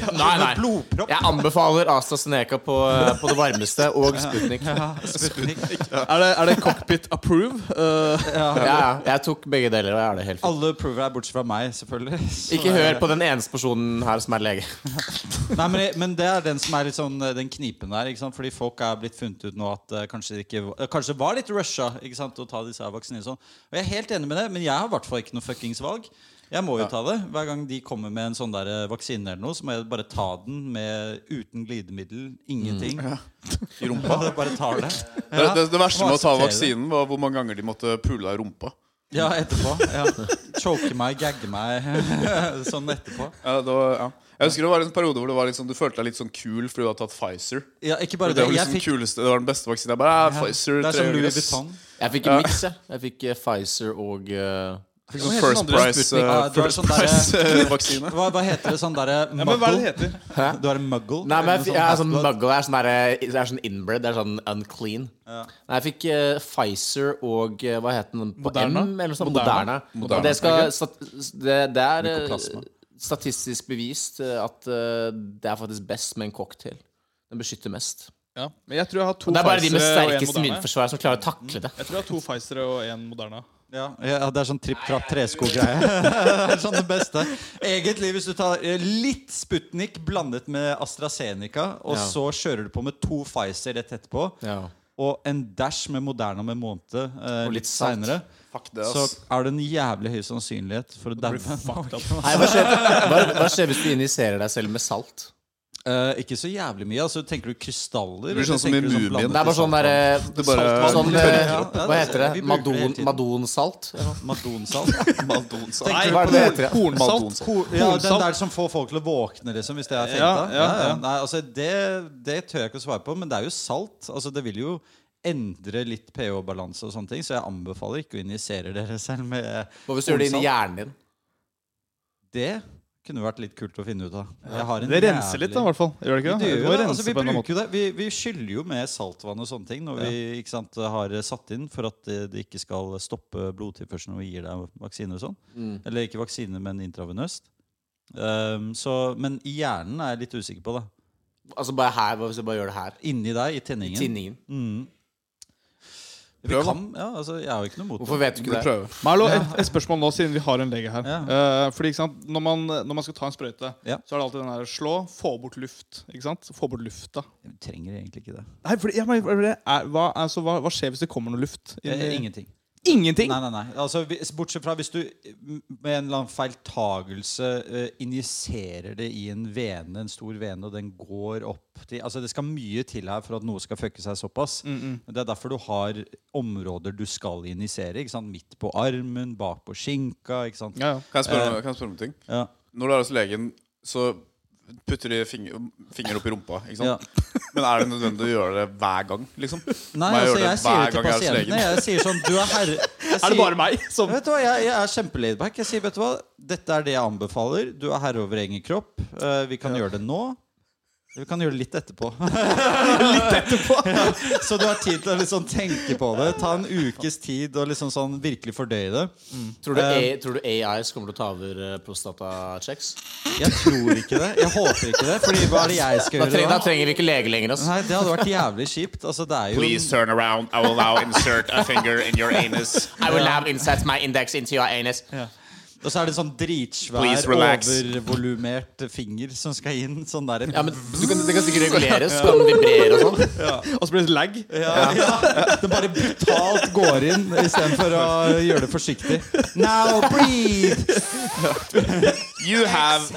å daue. Nei, nei. Blodpropp. Jeg anbefaler AstraZeneca på, uh, på det varmeste, og Sputnik. Ja, Sputnik. Er det, er det cockpit approve? Eh, ja, jeg tok begge deler, og jeg er det helt fint. Alle approver er bortsett fra meg, selvfølgelig. Så Ikke hør på den eneste personen her som er lege. Nei, men, men det er den som er litt sånn eh, den knipen der. ikke sant? Fordi folk er blitt funnet ut nå at eh, kanskje det ikke var- eh, kanskje det var litt rusha ikke sant? å ta disse her vaksinene. og Sånn. Og jeg er helt enig med det, men jeg har i hvert fall ikke noe fuckings valg. Jeg må jo ta det. Hver gang de kommer med en sånn der eh, vaksine eller noe, så må jeg bare ta den med, uten glidemiddel, ingenting. <laughs> I rumpa Bare, <laughs> bare tar det. Mm. det, det, det verste med å ta Akseptere det. vaksinen Var hvor mange ganger de måtte pule deg i rumpa Ja, etterpå. Ja. Choke meg, gagge meg <laughs> sånn etterpå. ja, det var, ja. Jeg husker det var en periode hvor det var litt sånn, du følte deg litt sånn kul Fordi du hadde tatt Pfizer Ja, ikke Det bare det. var, Jeg liksom fikk, den kuleste, det var den beste vaksinen Jeg bare, ah, ja, Pfizer det er tre som Louis ganger, ass. Vuitton. Jeg fikk en miks, jeg. Jeg fikk eh, Pfizer og eh, Fikk sånn Hva heter First den andre? Price, Sputnik. eh, Ja, det var first sånn der- price <laughs> eh, <laughs> vaksine Hva, hva heter det sånn derre ja, men hva er det det heter? Du er en muggle? Nei, men jeg, Eller fikk- noe jeg er sånt. sånn muggle. Jeg er sånn, der, jeg er sånn inbred. Jeg er sånn unclean. Nei, jeg fikk eh, Pfizer og eh, hva het den på Moderna? M? Eller sånn, Moderna. Moderna. Moderna. Og Det, skal, stat, det, det er eh, Mykoplasma. statistisk bevist eh, at eh, det er faktisk best med en cocktail. Den beskytter mest. Ja. Men jeg tror jeg har to Og det er bare de med Pfizere og en sterkest Moderna. immunforsvar som klarer å takle det. Jeg tror jeg har to Pfizere og en Moderna. Ja, ja, det er sånn tripp-trapp-tresko-greie. <laughs> det er sånn det beste. Egentlig, hvis du tar eh, litt Sputnik blandet med AstraZeneca, og Ja. så kjører du på med to Pfizer rett etterpå, Ja. og en dash med Moderna med måned eh, Og litt litt salt. seinere, Fuck det, så ass er det en jævlig høy sannsynlighet for å <laughs> daue. Nei, hva skjer, hva, hva skjer hvis du injiserer deg selv med salt? Eh, ikke så jævlig mye. Altså, tenker du krystaller? blir eller sånn som tenker i du Mumien. blandet Det er bare sånn salt? derre Det bare- Sånn, Ja, eh, ja, det er hva heter det? sånn. Vi bruker det hele Madon, tiden. madonsalt? <laughs> Madonsalt? Madonsalt. Tenker du Hva på er det det heter? ja? Hornsalt. Madonsalt. Ko- Ja, den Kornsalt. der som får folk til å våkne, liksom, hvis det er fengt. Ja, da. ja, ja. Nei, altså, det, det tør jeg ikke å svare på, men det er jo salt. Altså, det vil jo endre litt pH-balanse og sånne ting, så jeg anbefaler ikke å injisere dere selv med Hva hvis du gjør det inni hjernen din? Det kunne vært litt kult å finne ut av. Jeg har en Det renser litt, da, i jævlig- hvert fall. Gjør det Vi, ikke det? gjør Det jo må det. rense Altså, vi, på en eller annen bruker jo det. Vi, vi skyller jo med saltvann og sånne ting når vi ikke sant, har satt inn for at det, det ikke skal stoppe blodtilførselen når vi gir deg vaksine og sånn. Mm. Eller ikke vaksine, men intravenøst. Um, så, men i hjernen er jeg litt usikker på, da. Altså bare her, hva hvis jeg bare gjør det her? Inni deg, i tenningen. Tinningen. Vi kan, ja, altså, jeg har jo ikke noe mot det. Hvorfor vet du Vi ikke det? prøver Men hallo, et, et spørsmål nå, siden vi har en lege her. Eh, fordi, ikke sant, når man, når man skal ta en sprøyte, Ja. så er det alltid den her slå, få bort luft. Ikke sant? Få bort lufta. Vi trenger egentlig ikke det. Nei, fordi, ja, men, det er, hva, altså, hva, hva skjer hvis det kommer noe luft? inn Eh, i- Ingenting. Ingenting! Nei, nei, nei. Altså, hvis- bortsett fra hvis du eh, med en eller annen feiltagelse eh, injiserer det i en vene, en stor vene, og den går opp til Altså, det skal mye til her for at noe skal fucke seg såpass. Mm, Det er derfor du har områder du skal injisere. Ikke sant? Midt på armen, bak på skinka, ikke sant. Ja, ja. Kan jeg spørre om, kan jeg spørre om en ting? Ja. Når du er hos legen, så putter de finger, finger opp i rumpa. Ikke Ja. sant? <laughs> Men er det nødvendig å gjøre det hver gang? Liksom? Nei, Må altså, gjøre jeg det sier hver det til gang jeg er hos pasientene. legen? Jeg sier sånn Du er herre <laughs> jeg Er sier- det bare meg som Vet du hva, jeg, jeg er kjempelaidback. Jeg sier, vet du hva, dette er det jeg anbefaler. Du er herre over egen kropp. Eh, vi kan gjøre det nå. Vi kan gjøre det litt etterpå. litt etterpå? ja, så du har tid til å liksom tenke på det. Ta en ukes tid og liksom sånn virkelig fordøye det. <laughs> Tror du, Eh. A, tror du AIs kommer til å ta over eh, prostatachecks? Jeg tror ikke det. Jeg håper ikke det. Fordi hva er det jeg skal Da, treng, gjøre da da? trenger vi ikke lege lenger. Altså. Nei, det hadde vært jævlig kjipt. Altså, det er jo Please turn around. I will now insert a finger in your anus. I will now insert my index into your anus. Og så er det sånn dritsvær, Please relax. overvolumert finger som skal inn. Sånn der. Ja, men du kan, Det kan sikkert reguleres. Så kan den vibrere og sånn. Og så blir det lag. Den bare brutalt går inn istedenfor å gjøre det forsiktig. Now breathe! You have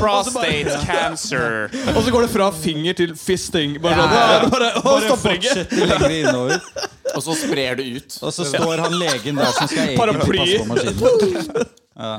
prostate cancer. Og så går det fra finger til fisting. Bare Ja, sånn, ja, ja. ja, det bare, å, Bare stopper ikke. fortsetter lenger innover. Og så sprer det ut. Og så står han legen der som skal egentlig Paraply. passe på maskinen. Ja.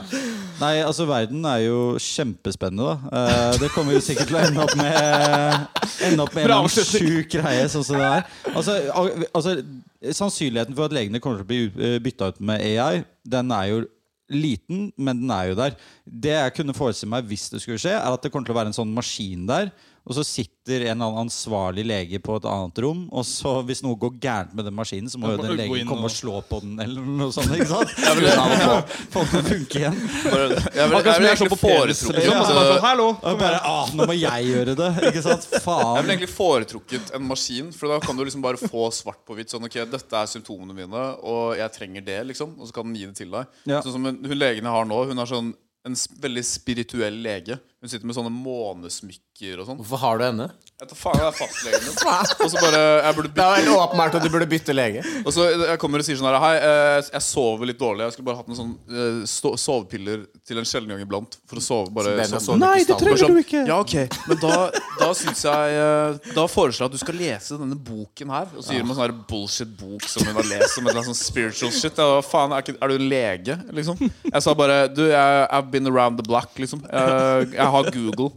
Nei, altså verden er jo kjempespennende, da. Eh, Det kommer jo sikkert til å ende opp med Ende opp med en eller Bra annen avslutning. sjuk greie, sånn som det er. Altså, al- altså, sannsynligheten for at legene kommer til å bli ut- bytta ut med AI, den er jo liten, men den er jo der. Det jeg kunne forestille meg hvis det skulle skje, er at det kommer til å være en sånn maskin der, og så sitter en eller annen ansvarlig lege på et annet rom, og så hvis noe går gærent med den maskinen, så må jo må den du gå legen inn komme og- og slå på den, eller noe sånt. ikke sant? men det- Ja, Få den til å funke igjen. Jeg vil, jeg vil Akkurat som jeg så egentlig på penisreduksjon. foretrukket Altså- og så bare sånn, at, Hallo! Og bare, ah, nå må jeg gjøre det! Ikke sant? <laughs> jeg vil Faen. egentlig foretrukket en maskin, for da kan du liksom bare få svart på hvitt. Sånn, ok, dette er symptomene mine, og jeg trenger det, liksom. Og så kan den gi det til deg. Ja. Sånn som hun, hun legen jeg har nå, hun er sånn en s- veldig spirituell lege. Hun sitter med sånne månesmykker og sånn. Hvorfor har du henne? Jeg tar faen, det er fastlegen min. Og så bare Jeg burde Det er helt åpenbart at du burde bytte lege. Og så jeg kommer og sier sånn her Hei, eh, jeg sover litt dårlig. Jeg skulle bare hatt noen sånn eh, sto- sovepiller til en sjelden gang iblant. For å sove bare Så den har sånn. sovet Nei, i det stallen. Bare trenger du sånn, ikke. Ja, ok Men da, da syns jeg eh, Da foreslår jeg at du skal lese denne boken her. Og så gir hun meg sånn her bullshit-bok som hun har lest om et eller annet sånn spiritual shit. Jeg var, faen, er, ikke, er du en lege, liksom? Jeg sa bare Du, jeg, I've been around the block, liksom. Jeg, jeg har Google.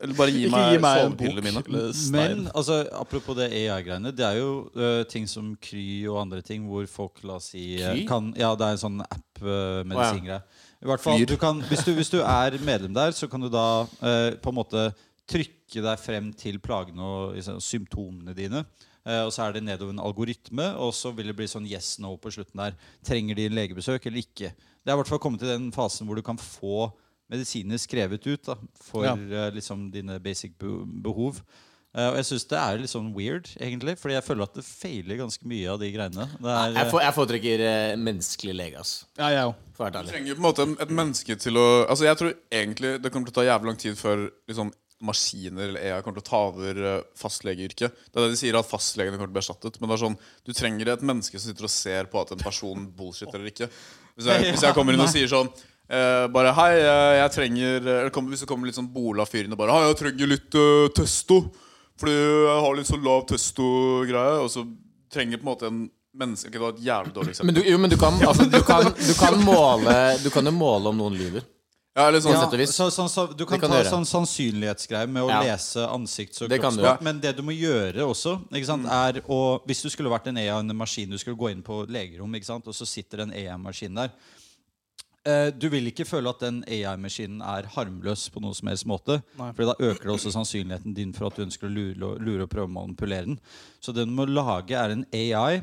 Eller bare gi Ikke meg, gi meg en bok. sovepillene mine. eller stein. Men altså, apropos det AI-greiene, det er jo ø, ting som Kry og andre ting hvor folk la oss si ø, Kry? kan, Ja, det er en sånn app-medisingreie. I hvert Flyr. fall, du kan, hvis, du, hvis du er medlem der, så kan du da ø, på en måte trykke deg frem til plagene og liksom, symptomene dine. Eh, og så er det nedover en algoritme, og så vil det bli sånn yes, no på slutten der. Trenger de legebesøk eller ikke? Det er i hvert fall kommet til den fasen hvor du kan få medisiner skrevet ut da, for Ja. eh, liksom dine basic be- behov. Eh, og jeg syns det er litt sånn weird, egentlig, fordi jeg føler at det feiler ganske mye av de greiene. Det er, Jeg, for, jeg foretrekker eh, menneskelig lege, ass. Ja, jeg òg. For å være Du ærlig. trenger jo på en måte en- et menneske til å Altså Jeg tror egentlig det kommer til å ta jævlig lang tid før liksom maskiner eller AI kommer til å ta over eh, fastlegeyrket. Det er det de sier, at fastlegene kommer til å bli erstattet. Men det er sånn, du trenger et menneske som sitter og ser på at en person bullshit eller ikke. Hvis jeg, hvis jeg kommer inn og sier sånn eh, bare hei, eh, jeg trenger Eller kom, hvis det kommer litt sånn Bola-fyr inn og bare Hei, jeg trenger litt eh, testo. Fordi jeg har litt sånn lav testo-greie. Og så trenger på en måte en menneske Ok, det var et jævlig dårlig eksempel. Men du, jo, men du kan, altså, du kan, du kan måle Du kan jo måle om noen lyver. Ja, eller sånn ja, sett- sett og vis. så, sånn- så, du kan, kan ta du gjøre. sånn sannsynlighetsgreie med å Ja. lese ansikts- og Det kan du, Mm. kroppsspråk, men det du må gjøre også, ikke sant, er å Hvis du skulle vært en EA-maskin, du skulle gå inn på legerom, ikke sant, og så sitter en EA-maskin der. Eh, du vil ikke føle at den AI-maskinen er harmløs på noen som helst måte. Fordi da øker det også sannsynligheten din for at du ønsker å lure, lure og prøve å manipulere den. Så det du må lage, er en AI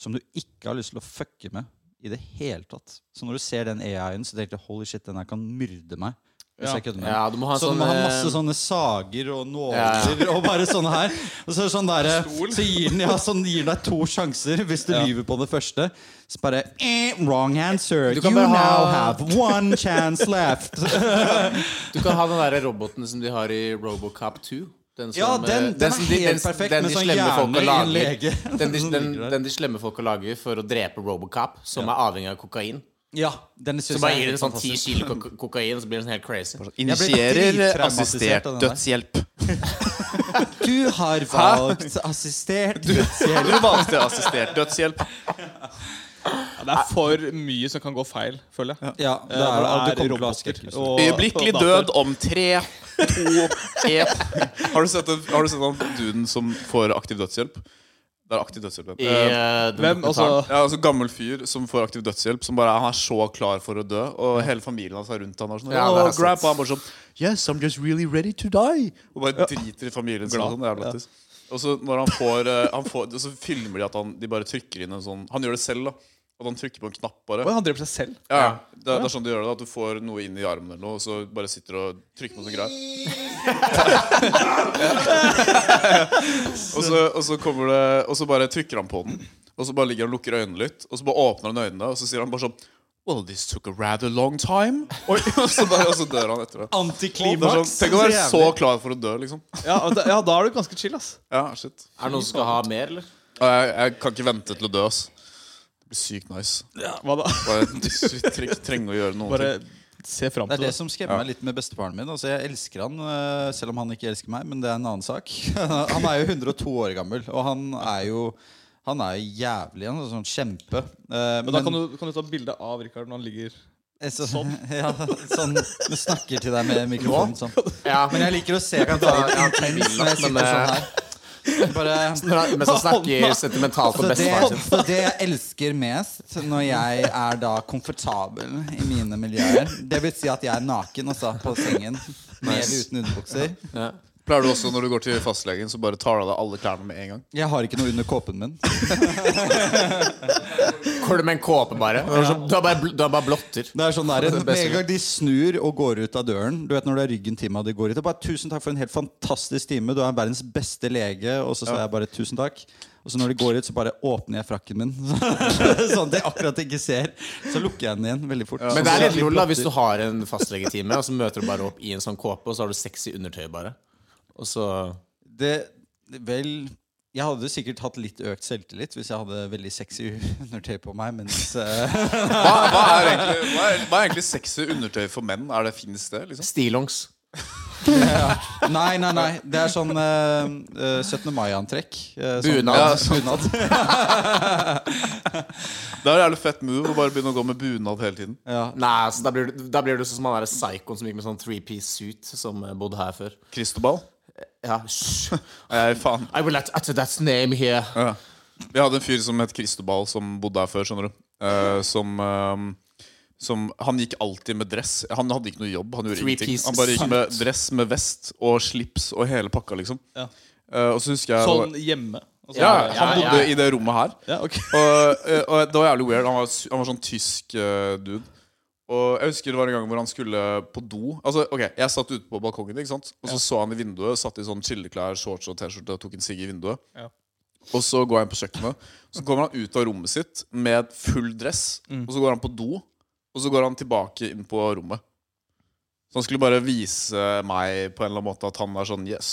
som du ikke har lyst til å fucke med i det hele tatt. Så når du ser den AI-en, så tenker du holy shit, den her kan myrde meg. Hvis Ja. jeg kødder med Ja, den. du må ha en så du må sånn, ha eh, masse sånne sager og nåler <laughs> og bare sånne her. Og så, er det sånn der, så gir den ja, sånn, gir den deg to sjanser hvis du lyver på det første. Så bare eh, Wrong answer. Du You kan now bare ha- have one chance left. <laughs> Du kan ha den der roboten som de har i Robocop 2. Den som, Ja, eh, den- den som er de- helt perfekt, den med de sånn slemme folka hjerne i en lager. lege. Den de, <laughs> Som den, ligger der. den de slemme folka lager for å drepe Robocop, som er avhengig av kokain. ja, den Så synes bare jeg gir er det sånn ti fantastisk. kilo kok kokain, så blir den sånn helt crazy. Initierer drittraumatisert assistert av den der. dødshjelp. Du har valgt assistert dødshjelp. Du valgte assistert dødshjelp. Ja, det er for mye som kan gå feil, føler jeg. Ja, det er, Hvor det det kommer til å ha roboter skrekkhistorie. og- Øyeblikkelig og dataer. død om tre, to, én <laughs> Har du sett, den- har du sett han duden som får aktiv dødshjelp? Det er aktiv dødshjelp. I, ja. Eh, eh, den Hvem? Altså, dokumentaren. ja, altså Gammel fyr som får aktiv dødshjelp. Som bare, er- Han er så klar for å dø, og hele familien hans er rundt han og sånn, Ja, det har jeg «Åh, grab», sett. og han bare sånn Yes, I'm just really ready to die. Og bare driter i familien sin. og Sånn, det er jævlig lættis. Og så når han får, eh, han får og Så filmer de at han de bare trykker inn en sånn Han gjør det selv, da. At han trykker på en knapp, bare. Oi, han dreper seg selv. Ja, det, er- det er sånn du gjør det, at du får noe inn i armen eller noe, og så bare sitter du og trykker på sånn noe sånt greier. og, så, og så kommer det Og så bare trykker han på den, og så bare ligger han og lukker øynene litt, og så bare åpner han øynene, og så sier han bare sånn Well, this took a rather long time. Oi, <laughs> og, så bare, og så dør han etter det. Det er sånn, Antiklimaks. tenk å være jævlig. så klar for å dø, liksom. Ja, og da, ja, da er du ganske chill, ass. Ja, shit. <laughs> Er det noen som skal ha mer, eller? Og Jeg, jeg kan ikke vente til å dø, ass. Det blir sykt nice. Hva da? Bare <laughs> shit, tre- trenger å gjøre noen Bare ting. se fram Det er til det det. som skremmer meg litt med bestefaren min. Altså, jeg elsker han, eh, selv om han ikke elsker meg, men det er en annen sak. <laughs> Han er jo 102 år gammel, og han er jo han er jo jævlig. Han er en sånn kjempe. Eh, Men da kan du, kan du ta bilde av Rikard når han ligger Eh, så- <laughs> Ja, sånn Du snakker til deg med mikrofonen sånn. Ja, Men jeg liker å se på ta- det jeg har ikke intenst bilen, når jeg sitter men, eh, sånn her. Bare <laughs> Mens han snakker sentimentalt om Så Altså, det, bestefaren sin. så det jeg elsker mest når jeg er da komfortabel i mine miljøer Det vil si at jeg er naken altså, på sengen, med eller uten underbukser. Ja. Pleier du også, når du går til fastlegen, så bare tar du av deg alle klærne med en gang? Jeg har ikke noe under kåpen min. Går du med en kåpe, bare? Du har sånn- Du har bare, bl- du har bare blotter. Det er sånn der, Det er det Med beste. en gang de snur og går ut av døren Du vet når du har ryggen til meg og de går ut og bare 'Tusen takk for en helt fantastisk time. Du er verdens beste lege.' Og så sa jeg bare 'tusen takk'. Og så når de går ut, så bare åpner jeg frakken min. <laughs> sånn at de akkurat ikke ser. Så lukker jeg den igjen veldig fort. Men det er litt lol da hvis du har en fastlegetime, og så møter du bare opp i en sånn kåpe, og så har du sexy undertøy, bare. Og så det, Vel Jeg hadde sikkert hatt litt økt selvtillit hvis jeg hadde veldig sexy <laughs> undertøy på meg. Mens eh, Hva, hva, er, egentlig, hva, er, hva er egentlig sexy undertøy for menn? Er det Fins det, liksom? Stillongs. Nei, nei, nei. Det er sånn eh, eh, 17. mai-antrekk. eh, sånn- Bunad. Ja, sånn- <laughs> bunad. Det er en jævlig fett move å bare begynne å gå med bunad hele tiden. Ja. Nei, altså, da blir, du, da blir du sånn som han derre psykoen som gikk med sånn three-piece suit, som eh, bodde her før. Cristobal? Ja, hysj. Nei, faen. I will at, at that's name here. Ja. Vi hadde en fyr som het Cristobal, som bodde her før, skjønner du. Eh, som, eh, som Han gikk alltid med dress. Han hadde ikke noe jobb. Han gjorde Three ingenting. piece Han bare gikk <laughs> med dress med vest og slips og hele pakka, liksom. Ja. Eh, og så husker jeg sånn hjemme? Og så- ja, Han Ja, ja. bodde i det rommet her. ja, ok. Og, eh, og det var jævlig weird. Han var, su- han var sånn tysk eh, dude. Og jeg husker det var en gang hvor han skulle på do. Altså, ok, Jeg satt ute på balkongen, ikke sant? og så så han i vinduet. Satt i sånn chilleklær, shorts og T-skjorte og tok en sigg i vinduet. Ja. Og så går han på kjøkkenet. Så kommer han ut av rommet sitt med full dress. Mm. Og så går han på do, og så går han tilbake inn på rommet. Så han skulle bare vise meg på en eller annen måte at han er sånn Yes,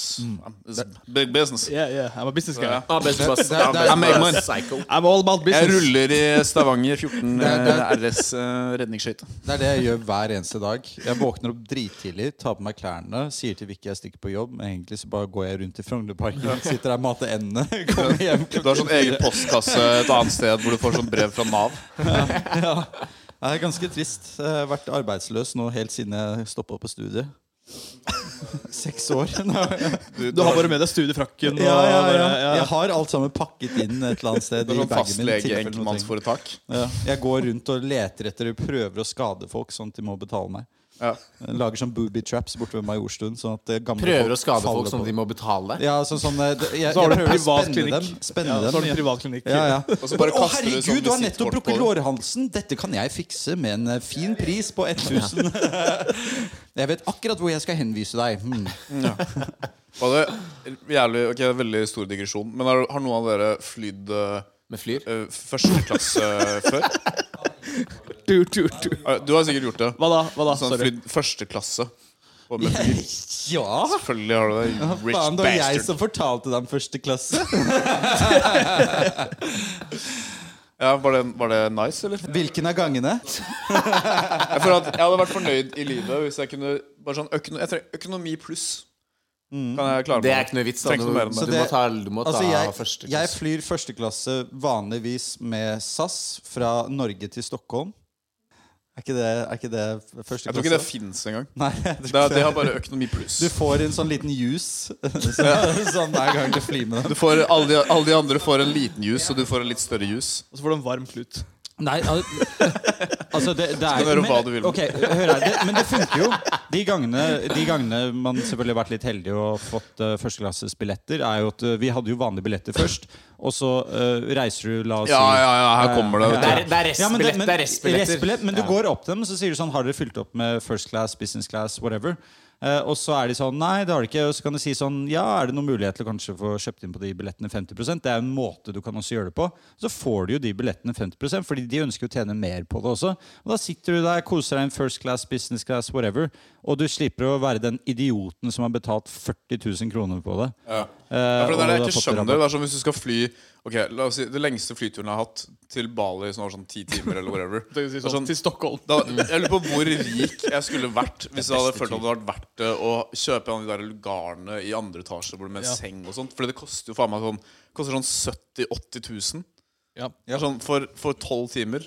it's big business. Yeah, yeah. I'm a business guy. Ja. Ah, best of us. Mm. det- det- I'm det- a psycho. I'm all Jeg about business. <laughs> ruller i Stavanger 14 Det er- det RS eh, redningsskøyte. Det er det jeg gjør hver eneste dag. Jeg våkner opp drittidlig, tar på meg klærne, sier til Vicky jeg stikker på jobb, men egentlig så bare går jeg rundt i Frognerparken, sitter der og mater endene, <laughs> kommer hjem Du har sånn <laughs> egen postkasse et annet sted hvor du får sånn brev fra Nav. Det er ganske trist. Jeg har vært arbeidsløs nå helt siden jeg stoppa på studiet. <laughs> Seks år. <laughs> Du har bare med deg studiefrakken. Ja, ja, og ja. bare- ja. Jeg har alt sammen pakket inn et eller annet sted Det er i sånn bagen min. i fastlege tilfelle noe trenger. enkeltmannsforetak. Ja. Jeg går rundt og leter etter prøver å skade folk, sånn at de må betale meg. Ja. Jeg Lager sånn booby traps borte ved Majorstuen. Sånn at eh, gamle Prøver å skade faller folk sånn på at de må betale deg. Ja, sånn, sånn, eh, det- jeg, Så har jeg du en prøver å privat spenne klinikk. dem. Spenne Ja, dem. så har du en privat klinikk. ja, ja. Og så bare Å, kaster du herregud, sånn du har nettopp visittkort brukket på det. lårhalsen! Dette kan jeg fikse med en eh, fin pris på 1000. Jeg vet akkurat hvor jeg skal henvise deg. Hmm. Var det jævlig, ok, Veldig stor digresjon, men har, har noen av dere flydd Med flyr. eh, første klasse eh, før? <laughs> Du, du, du. Eh, Du har sikkert gjort det. Hva da? Hva da? Sånn Sorry. flydd første klasse. Og med fly. Ja! Selvfølgelig har du det. you Rich Faen, det var jeg bastard. som fortalte deg om første klasse. Ja, var, det, var det nice, eller? Hvilken av gangene? Jeg, føler at jeg hadde vært fornøyd i livet hvis jeg kunne bare sånn økono, Jeg trenger økonomi pluss. Kan jeg klare Det er ikke noe vits. Da. Trenger Du, ikke noe mer enn du det. må ta, du må ta Altså, første jeg, jeg klasse. flyr første klasse vanligvis med SAS fra Norge til Stockholm. Er ikke det, er ikke det første klasse? <laughs> Jeg tror ikke det fins engang. Nei, jeg tror Det, ikke er- det har bare økonomi pluss. Du får en sånn liten juice <laughs> så, sånn hver gang du flyr med Du den. får, alle, de, alle de andre får en liten juice, og du får en litt større juice. Og så får du en varm klut. Nei, al- <laughs> altså det, det Du kan er gjøre men- hva du vil med. Ok, hør her, det, Men det funker jo. De gangene, de gangene man selvfølgelig har vært litt heldig og fått uh, førsteklassesbilletter, er jo at eh, vi hadde jo vanlige billetter først, og så eh, reiser du, la oss Ja, si ja, ja, her kommer det. Det Vet er, du. det er Ja, men restbillett. men- det er restbilletter. restbillett, men du går opp til dem så sier du sånn Har dere fylt opp med first class, business class, whatever? Eh, og så er de sånn Nei, det har de ikke. Og så kan du si sånn Ja, er det noen mulighet til å kanskje få kjøpt inn på de billettene 50 Det er jo en måte du kan også gjøre det på. Så får du jo de billettene 50 fordi de ønsker å tjene mer på det også. Og da sitter du der, koser deg i en first class, business class, whatever, og du slipper å være den idioten som har betalt 40 000 kroner på det. Ja. Eh, Ja, for det er det og jeg ikke du har fått det skjønner. rabatt. Det er som hvis du skal fly Ok, la oss si Det lengste flyturen jeg har hatt, til Bali, som var sånn ti timer eller whatever. Det er Det er sånn- sånn, til Stockholm. da, jeg lurer på hvor rik jeg skulle vært hvis jeg hadde følt at det hadde vært verdt det å kjøpe en av de der lugarene i andre etasje hvor det med Ja. seng og sånt. Fordi det koster jo faen meg sånn Koster sånn 70 000-80 000 Ja. Det er sånn for, for 12 timer.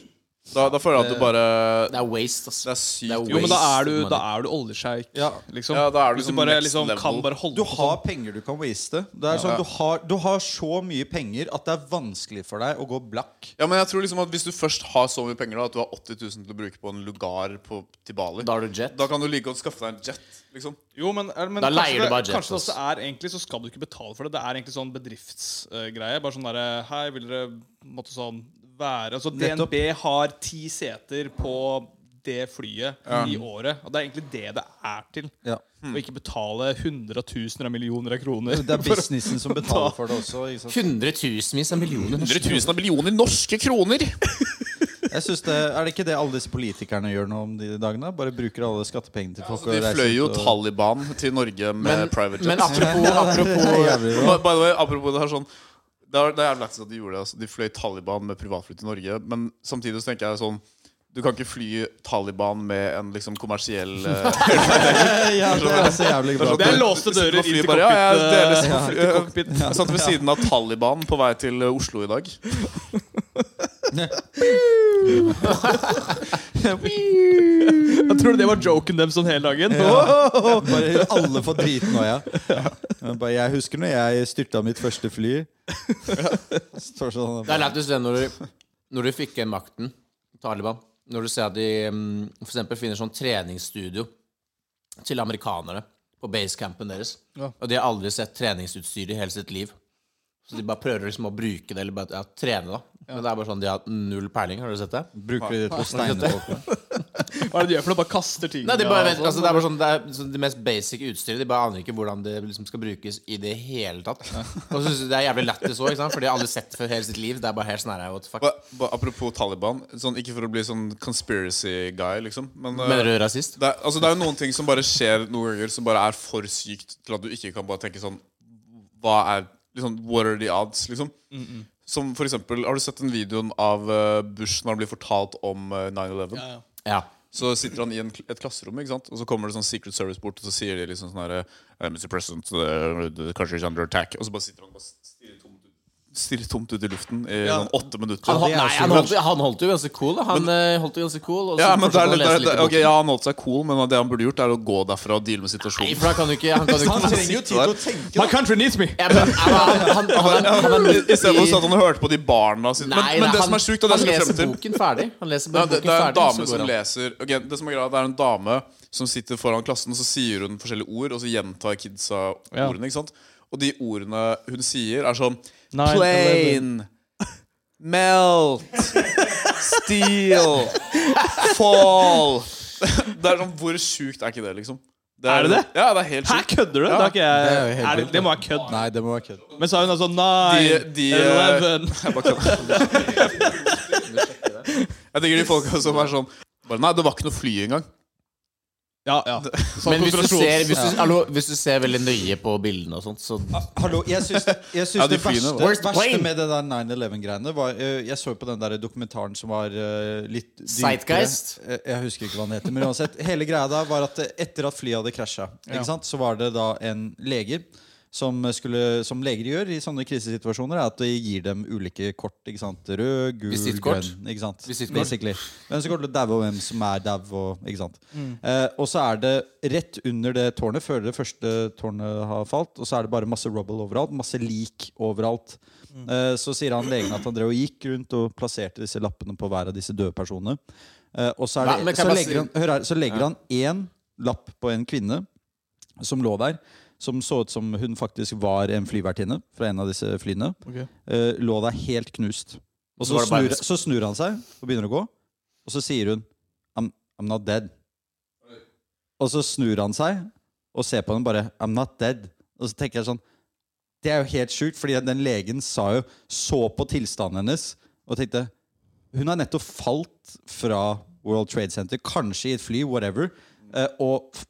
Da, da føler jeg at du bare Det er waste, ass. Det er sykt. det er Jo, men da er du, Waste da er du oljesjeik, Ja. liksom. Ja, da er du Hvis du sånn bare next liksom, kan level. bare holde Du på har penger du kan waste. Det er sånn, du, har, du har så mye penger at det er vanskelig for deg å gå blakk. Ja, men jeg tror liksom at Hvis du først har så mye penger da, at du har 80 000 til å bruke på en lugar på, til Bali, Da har du jet. da kan du like godt skaffe deg en jet. liksom Jo, men, er- men Da kanskje leier du det- bare jet, Kanskje det altså. også er egentlig så skal du ikke betale for det. Det er egentlig sånn bedriftsgreie. bare sånn derre Hei, vil dere måtte sånn være Altså Nettopp. DNB har ti seter på det flyet i året. Og det er egentlig det det er til. Ja. Å ikke betale hundretusener av millioner av kroner. <laughs> Det er businessen som betaler for det også. Ikke sant? Hundretusenvis av millioner. norske 100 000 av millioner norske kroner! Jeg synes det, er det ikke det alle disse politikerne gjør nå om de dagene? Bare bruker alle skattepengene til folk altså, De og reiser fløy jo ut og- <laughs> Taliban til Norge med Men, private jets. men <laughs> apropos, apropos Jævlig bra. By, by the way, apropos det her sånn Det er, det er jævlig lættis at de gjorde det altså. De fløy Taliban med privatfly til Norge Men samtidig så tenker jeg sånn Du kan ikke fly Taliban med en liksom kommersiell eh, <laughs> Ja, det er så jævlig bra. <laughs> Det er låste Du sitter dører på flyet inn til bare, ja, jeg deler cockpit, eh, som fly- til cockpit. Jeg satt ved siden av Taliban på vei til eh, Oslo i dag Jeg tror det var joken dem sånn hele dagen. Ja. Bare alle får driten nå, ja. Men Bare, jeg husker når jeg styrta mitt første fly. Står sånn Det er lættis det når du, når du fikk igjen makten, Taliban Når du ser at de mm, for eksempel finner sånn treningsstudio til amerikanere på basecampen deres. Ja. Og de har aldri sett treningsutstyr i hele sitt liv. Så de bare prøver liksom å bruke det, eller bare ja, trene, da. Men det er bare sånn de har null peiling. Har du sett det? Bruker de det til å steine folk med? Hva er det de gjør for noe? Bare kaster ting? Nei, de bare, og vet, sånn. altså, det er bare sånn Det er sånn det mest basic utstyret. De bare aner ikke hvordan det liksom skal brukes i det hele tatt. Og så synes de det er jævlig lættis òg, for de har aldri sett det før i hele sitt liv. Det er bare helt sånn her, what the fuck. ba, ba, Apropos Taliban sånn, Ikke for å bli sånn conspiracy guy liksom Men, eh, Mener du rasist? det er, altså, det er jo noen ting som bare skjer noen ganger Som bare er for sykt Til at du ikke kan bare tenke sånn Hva er liksom, What are the odds? Liksom. Som for eksempel Har du sett den videoen av eh, Bush Når han blir fortalt om eh, 9-11? Ja, ja. Ja. Så sitter han i en, kl- et klasserom, ikke sant? og så kommer det sånn Secret Service bort, og så sier de liksom sånn herre Mr. President, the, the country is under attack. Og så bare sitter han og bare stirrer tomt, ut- stirrer tomt ut i luften i Ja. sånn åtte minutter. Han, hol- det er nei, så han, bra. holdt, han holdt jo ganske cool. da. Han eh, holdt jo ganske cool og så ja, men det er, fortsatte han å litt- det lese er, litt i ok, boken. ja, han holdt seg cool, men det han burde gjort, er å gå derfra og deale med Nei, situasjonen. for han kan jo ikke Han kan jo Sånn Han ikke trenger jo tid til å tenke. My country needs me! ja, men, han, han, han, han, han, er midt Istedenfor at han hørte på de barna sine. sånn- men, Nei, men nei, det han- som er sjukt, og det han skal jeg frem leser til boken ferdig. Han leser Ja, bare det, boken det er en ferdig, dame så som går han. leser Ok, Det som er greia, det er en dame som sitter foran klassen, og så sier hun forskjellige ord, og så gjentar kidsa Ja. ordene. ikke sant? Og de ordene hun sier, er sånn Nine, Plane. Melt. Steal. Fall. <laughs> Det er sånn, Hvor sjukt er ikke det, liksom? Er det det? Ja, det er helt Hæ, sjukt. kødder du? Ja. Det, er ikke jeg, Det det, er jo helt er det, vilt. det må være kødd. Nei, det må være kødd. Men så er hun altså Nine, De- de, eh, eleven Jeg bare kødder. <laughs> Jeg tenker de folka som er sånn bare, Nei, det var ikke noe fly engang. Ja, ja. Sånn Men hvis du, konsentrasjons- ser, hvis, du, hallo, hvis du ser veldig nøye på bildene og sånt, så Hallo, jeg syns, jeg syns Ja, de det verste, flyene, hva? Worst verste plane. med det der 9-11-greiene var eh, Jeg så jo på den der dokumentaren som var eh, litt dypere. Zeitgeist? Eh, Jeg husker ikke hva den heter. Men uansett, hele greia der var at eh, etter at flyet hadde krasja, Ja. så var det da en lege som, skulle, som leger gjør i sånne krisesituasjoner, er at de gir dem ulike kort. Ikke sant? Rød, gul, Visittkort. grønn. Ikke sant? Visittkort. Basically. Hvem som kommer til å daue, og hvem som er dau. Og, ikke sant? Eh, og så er det rett under det tårnet, før det første tårnet har falt, og så er det bare masse rubble overalt, masse lik overalt. Eh, så sier han legen at han drev og gikk rundt og plasserte disse lappene på hver av disse døde personene. Eh, og så, Hva? er Men det, kan så, jeg legger bare han, hør her, så legger han én lapp på en kvinne som lå der, som så ut som hun faktisk var en flyvertinne fra en av disse flyene. Ok. Eh, lå der helt knust. Og så så, var det bare snur, så snur han seg og begynner å gå, og så sier hun I'm, I'm not dead. Og så snur han seg, og ser på den og bare I'm not dead. Og så tenker jeg sånn Det er jo helt sjukt, fordi den legen sa jo Så på tilstanden hennes og tenkte Hun har nettopp falt fra World Trade Center, kanskje i et fly, whatever. eh, Og f-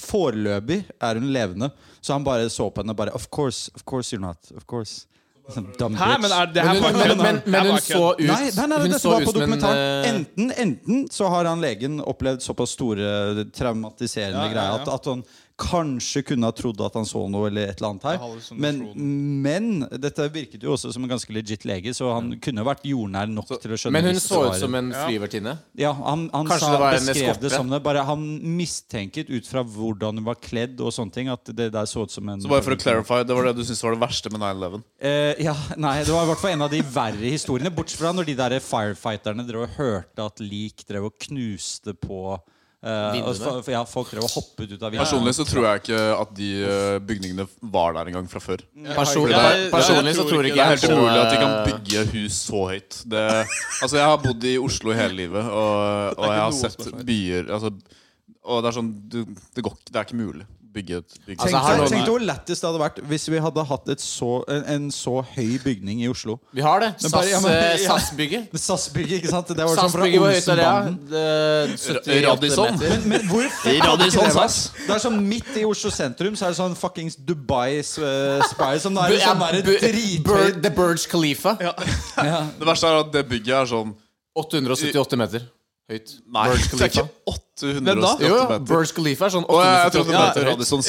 foreløpig er hun levende. Så han bare så på henne og bare Of course, of course you're not. Of course. Sånn Dumb Hæ, bitch. men er det her Men, bare men, kødd? men, Det her men var hun så kødd. ut Nei, nei, nei, hun dette så var ut på som en, dokumentaren. eh, Enten, enten så har han legen opplevd såpass store traumatiserende Ja, ja, greier at, ja. at han kanskje kunne ha trodd at han så noe eller et eller annet Jeg har her. det liksom som Men, definisjon. men dette virket jo også som en ganske legit lege, så han kunne vært jordnær nok til å skjønne Men hun hvis det så var ut som en flyvertinne. ja, han, han Kanskje sa, det var en beskrev eskorte? det som det. Bare han mistenket ut fra hvordan hun var kledd og sånne ting, at det der så ut som en Så bare for å clarify, det var det du syntes var det verste med 9-11? Eh, ja, nei, Det var i hvert fall en av de verre historiene. Bortsett fra når de der firefighterne drev og hørte at lik drev og knuste på eh, Vinduene. og fa- ja, Folk drev og hoppet ut av Personlig så tror jeg ikke at de eh, bygningene var der engang fra før. Person, Ja, jeg- per- personlig jeg så tror tror ikke ikke Det er jeg helt umulig at de kan eh, bygge hus så høyt. Det, altså Jeg har bodd i Oslo hele livet, og, og ikke jeg har noe sett spørsmål. byer altså, Og det er sånn du, det, går, ikke- det er ikke mulig å bygge et bygg. Altså, Tenk her deg nå- tenk deg hvor lættis det hadde vært hvis vi hadde hatt et så, en, en så høy bygning i Oslo. Vi har det. Men bare- ja, SAS, <laughs> men- eh, ja. SAS-bygget. SAS-bygget, ikke sant? Det var sånn fra SAS-bygget var høyt der, ja. Olsenbanden. Det- 70 Radisson. meter. Men, men hvor fett I hadde ikke det Radisson, vært? ass. Det er sånn midt i Oslo sentrum, så er det sånn fuckings Dubai uh, Spire som det er en Ja, sånn derre Bu- drithøy Bur- The Burj Khalifa. Det verste er at det bygget er sånn 878 meter høyt. Nei, Burj det er Khalifa. ikke 878 Jo, jo. meter. Burj Khalifa er sånn Å, jeg, jeg trodde 878 det meter het høyt. Radisson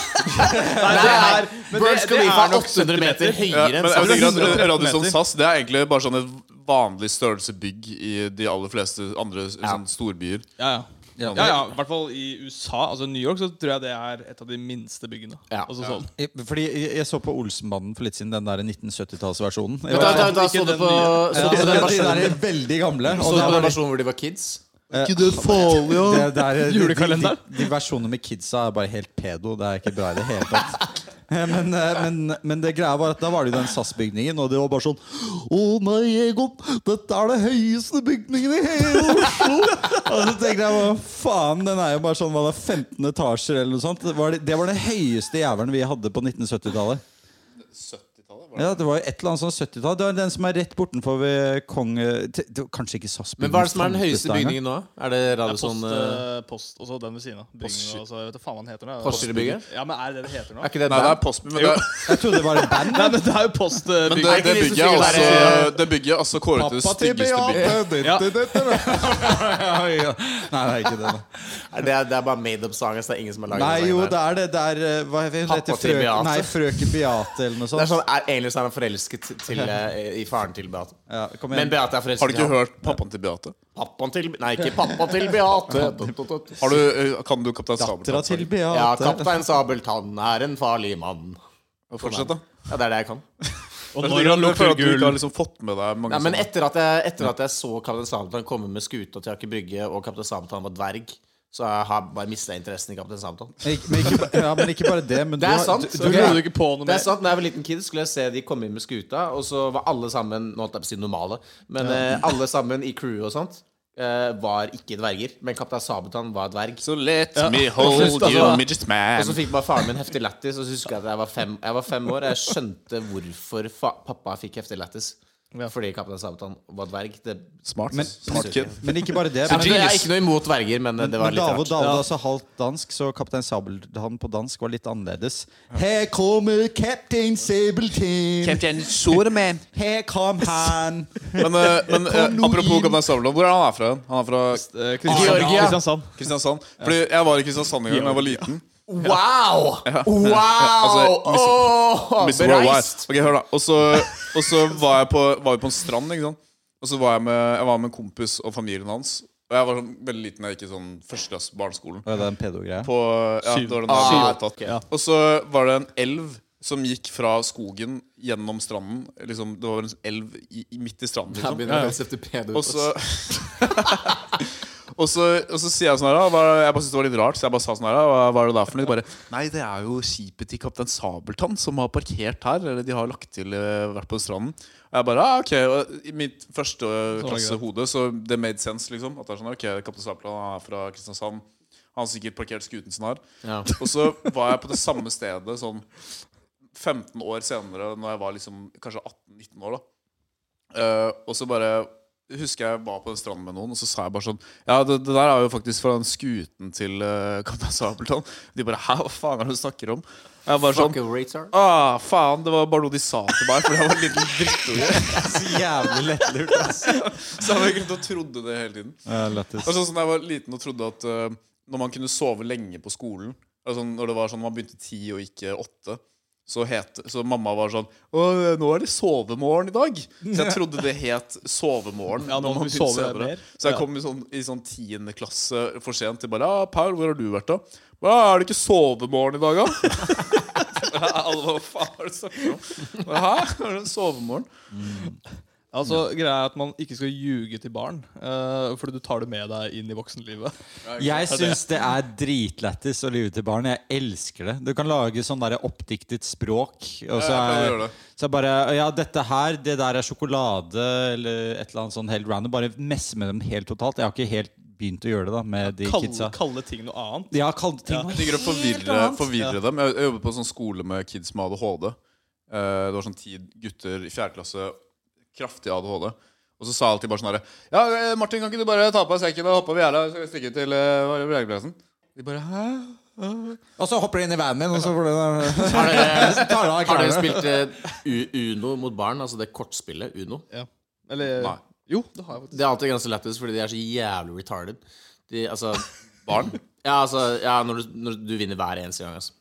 SAS. Nei, det er- men Burj det- det Khalifa er er nok 800 meter Ja, høyere men enn jeg SAS. tenker at 130 Radisson meter. SAS Det er egentlig bare sånn et vanlig størrelse bygg i de aller fleste andre sånn, storbyer. Ja, ja. Ja, ja, I hvert fall i USA, altså New York, så tror jeg det er et av de minste byggene. Ja. Altså sånn I- Fordi jeg- jeg så på Olsenbanden for litt siden, den der 1970-tallsversjonen. Jeg Men Da, var- da, da Ikke så du den på, nye. så du Ja, på den de der versjonen er veldig Så gamle. Og du det på den er versjonen hvor de var kids? Ikke det farlig, det, det er, de, de, Julekalenderen? de versjonene med kidsa er bare helt pedo. Det er ikke bra i det hele tatt. Eh, Men, eh, men, men det greia var at da var det jo den SAS-bygningen, og det var bare sånn Å nei, Egon, dette er det høyeste bygningen i hele Oslo! Og så tenkte jeg bare faen, den er jo bare sånn hva da, 15 etasjer eller noe sånt. Det var, det- det var den høyeste jævelen vi hadde på 1970-tallet. Ja, det var jo et eller annet sånn 70-tall. Det var den som er rett bortenfor ved Kong... t- t- Kanskje ikke SAS. Men hva er det som er den høyeste bygningen nå? Er det Det er Radisson post, eh, eh, post, og så den ved siden av. Bygningen, og så- jeg vet da faen hva den heter. nå. Postgirobygget? Ja, men er det det <laughs> heter nå? Er ikke det Nei, det er band? Postby, men det, Jeg trodde det var en band. Nei, <laughs> men det er jo postbygget. men det, det de som bygget er synger altså, der, det bygget er altså kåret til det styggeste bygget. <laughs> Ja. Nei, det er ikke det. da. Nei, det <laughs> er, det er bare made up songs. Det er ingen som har laget Nei, den sangen jo, der. det er det. Det er eh, hva heter hun? Pappa heter til frøken, Beate. nei, frøken Beate eller noe Det er sånt. sånn, er, Egentlig så er han forelsket til, eh, i faren til Beate. Ja, kom Men igjen. Beate er forelsket Har du ikke i han. hørt pappaen til Beate? Pappaen til Nei, ikke pappaen til <laughs> Beate. Har du, eh, kan du Kaptein Dattera til Sabeltann? Beate. Ja, kaptein Sabeltann er en farlig mann. Fortsett, da. Ja, det er det jeg kan. Og Jeg når føler han at lukter du ikke har gull liksom fått med deg mange Nei, men sånne. etter at jeg, etter at jeg så Kaptein Sabeltann komme med skuta til Aker Brygge, og Kaptein Sabeltann var dverg, så jeg har jeg bare mista interessen i Kaptein Sabeltann. Ik- Men ikke, ba- ja, men ikke bare det. Men Det du er har- sant. du- Så du- Ok. trodde du ikke på noe Det mer. er sant, når jeg var liten kid, skulle jeg se de komme inn med skuta, og så var alle sammen Nå holdt jeg på å si normale, men eh, alle sammen i crewet og sånt eh, var ikke dverger. Men Kaptein Sabeltann var dverg. So let <laughs> me hold you, Altså- midget Og så man. fikk bare faren min heftig lættis, og så husker jeg at jeg var fem, jeg var fem år. Jeg skjønte hvorfor fa pappa fikk heftig lættis. Fordi Kaptein Sabeltann var dverg. Det, Smart. Men- Smart kid. Men ikke bare det. jeg, Men, jeg er ikke noe imot dverger, men eh, det, det var men litt Davo rart. Dale er altså halvt dansk, så Kaptein Sabeltann på dansk var litt annerledes. Her kommer Kaptein Sabeltann, her kom han. Men, eh, men eh, Kom nå apropos inn. Kaptein Sabeltann, hvor er han her fra? Han er fra Eh, Georgia. Kristiansand. Kristiansand. Fordi jeg var i Kristiansand en gang da jeg var liten. Wow! Wow! <laughs> Altså, Miss- Åh, Miss bereist! Worldwide. Ok, hør da Og så, og så var, jeg på, var vi på en strand, ikke sant? Og så var jeg med, jeg var med en kompis og familien hans. Og jeg var sånn, veldig liten, jeg gikk i sånn første klasse på barneskolen. Å, Det er en pedo-greie. På, ja, det var den der, vi Ah, var opptatt. ok. Ja. Og så var det en elv som gikk fra skogen gjennom stranden. Liksom, det var en elv i, i, midt i stranden. Jeg Liksom. begynner å lese etter pedo. Og så <laughs> Og så, og så sier jeg sånn her da, hva- Jeg bare syntes det var litt rart, så jeg bare sa sånn her da, Hva, hva er det der for noe? De Bare, Nei, det er jo skipet til kaptein Sabeltann som har parkert her. Eller de har lagt til eh, vært på stranden. Og jeg bare, ah, ok og I mitt første eh, klasse hode så det made sense, liksom. At det er sånn, ok, kaptein Sabeltann er fra Kristiansand. Han har sikkert parkert skuten sin her. Ja. Og så var jeg på det samme stedet sånn 15 år senere, når jeg var liksom kanskje 18-19 år, da. Eh, og så bare husker jeg var på den stranden med noen, og så sa jeg bare sånn Ja, det, det der er jo faktisk fra den skuten til uh, Kaptein Sabeltann. De bare Hæ, hva faen er det du snakker om? Jeg bare sånn Fuck a retard. Ah, faen, det var bare noe de sa til meg fordi jeg var en liten drittunge. Så jævlig lettlurt, ass. Så jeg var egentlig og trodde det hele tiden. Lettest. Altså, sånn, da jeg var liten og trodde at eh, når man kunne sove lenge på skolen altså, Når det var sånn man begynte ti og ikke åtte, så, het, så mamma var sånn Å, nå er det sovemorgen i dag. Så jeg trodde det het sovemorgen. Ja, nå når må man du begynte sove senere. mer. Så jeg Ja. kom i sånn, i sånn tiende klasse for sent. De bare Ja, Paul, hvor har du vært, da? Hva, er det ikke sovemorgen i dag, da? <laughs> <laughs> Alle bare, Hva faen er det du snakker om? Hæ? Er det sovemorgen? Altså, Greia er at man ikke skal ljuge til barn, eh, fordi du tar det med deg inn i voksenlivet. Jeg syns det er dritlættis å lyve til barn. Jeg elsker det. Du kan lage sånn der oppdiktet språk. Og Ja, jeg så kan er, gjøre det. så er bare Ja, dette her, det der er sjokolade eller et eller annet sånn helt random. Bare messe med dem helt totalt. Jeg har ikke helt begynt å gjøre det da med de Kalle, kidsa. kalle ting noe annet. Ja, kall det ting noe Ligger og helt forvirrer, annet. forvirrer dem. Jeg, jeg jobbet på en sånn skole med kids med ADHD. Eh, det var sånn ti gutter i fjerde klasse, kraftig ADHD. Og så sa alltid bare sånn herre Ja, eh, Martin, kan ikke du bare ta på deg sekken og hoppe over gjerdet, så skal vi stikke til uh, legeplassen? De bare Hæ? Og så hopper de inn i vanen din, og så får <laughs> du Har <laughs> dere, tar du har av dere klærne. spilt eh, U- Uno mot barn? Altså det kortspillet Uno? Ja. Eller Nei. Jo, det har jeg faktisk. Det er alltid ganske lættis, fordi de er så jævlig retarded. De, altså, Barn? ja, altså, ja, når, du, når du vinner hver eneste gang, altså.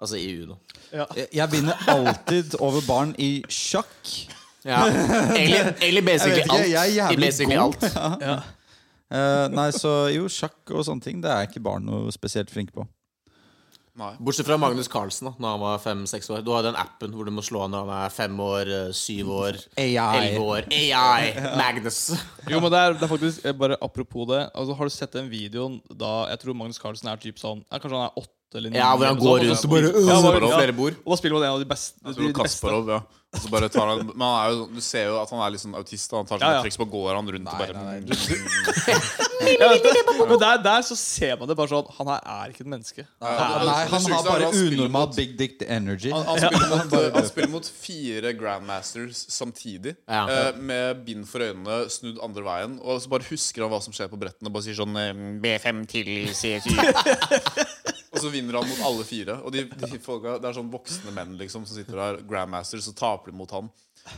Altså i Uno. Jeg- Jeg vinner alltid over barn i sjakk. Ja. Egentlig, egentlig basically Jeg vet ikke, alt. jeg er I jævlig basically god. alt. Eh, nei, så jo, sjakk og sånne ting, det er ikke barn noe spesielt flinke på. Nei. Bortsett fra Magnus Carlsen, da når han var fem-seks år. Du har den appen hvor du må slå når han er fem år, eh, syv <laughs> år, AI. elleve år. <laughs> AI! Magnus. Jo, men det er, det er faktisk eh, Bare apropos det. Altså, har du sett den videoen da jeg tror Magnus Carlsen er typ sånn ja, Kanskje han er åtte eller sånn, ni? Ja, hvor han går rundt og bare, øh, på flere bord. Og da spiller man en av de beste. Jeg de tror beste. Kasparov, ja. Og så bare tar han Men han er jo, sånn- du ser jo at han er litt sånn autist. da. Han tar Ja, sånn ja. et triks, så bare går han rundt og <laughs> bare Ja, vet du. Men der, der så ser man det bare sånn Han her er ikke et menneske. Ja, det- Nei, det han sykeste har er bare at han spiller unormal mot- big dick energy. Han, han, spiller <laughs> mot, han spiller mot fire grandmasters samtidig, Ja. eh, med bind for øynene snudd andre veien. Og så bare husker han hva som skjer på brettene, og bare sier sånn eh, B5 til <laughs> C7. og så vinner han mot alle fire. Og de, de folka, det er sånn voksne menn liksom som sitter der, grandmasters, og taper de mot han.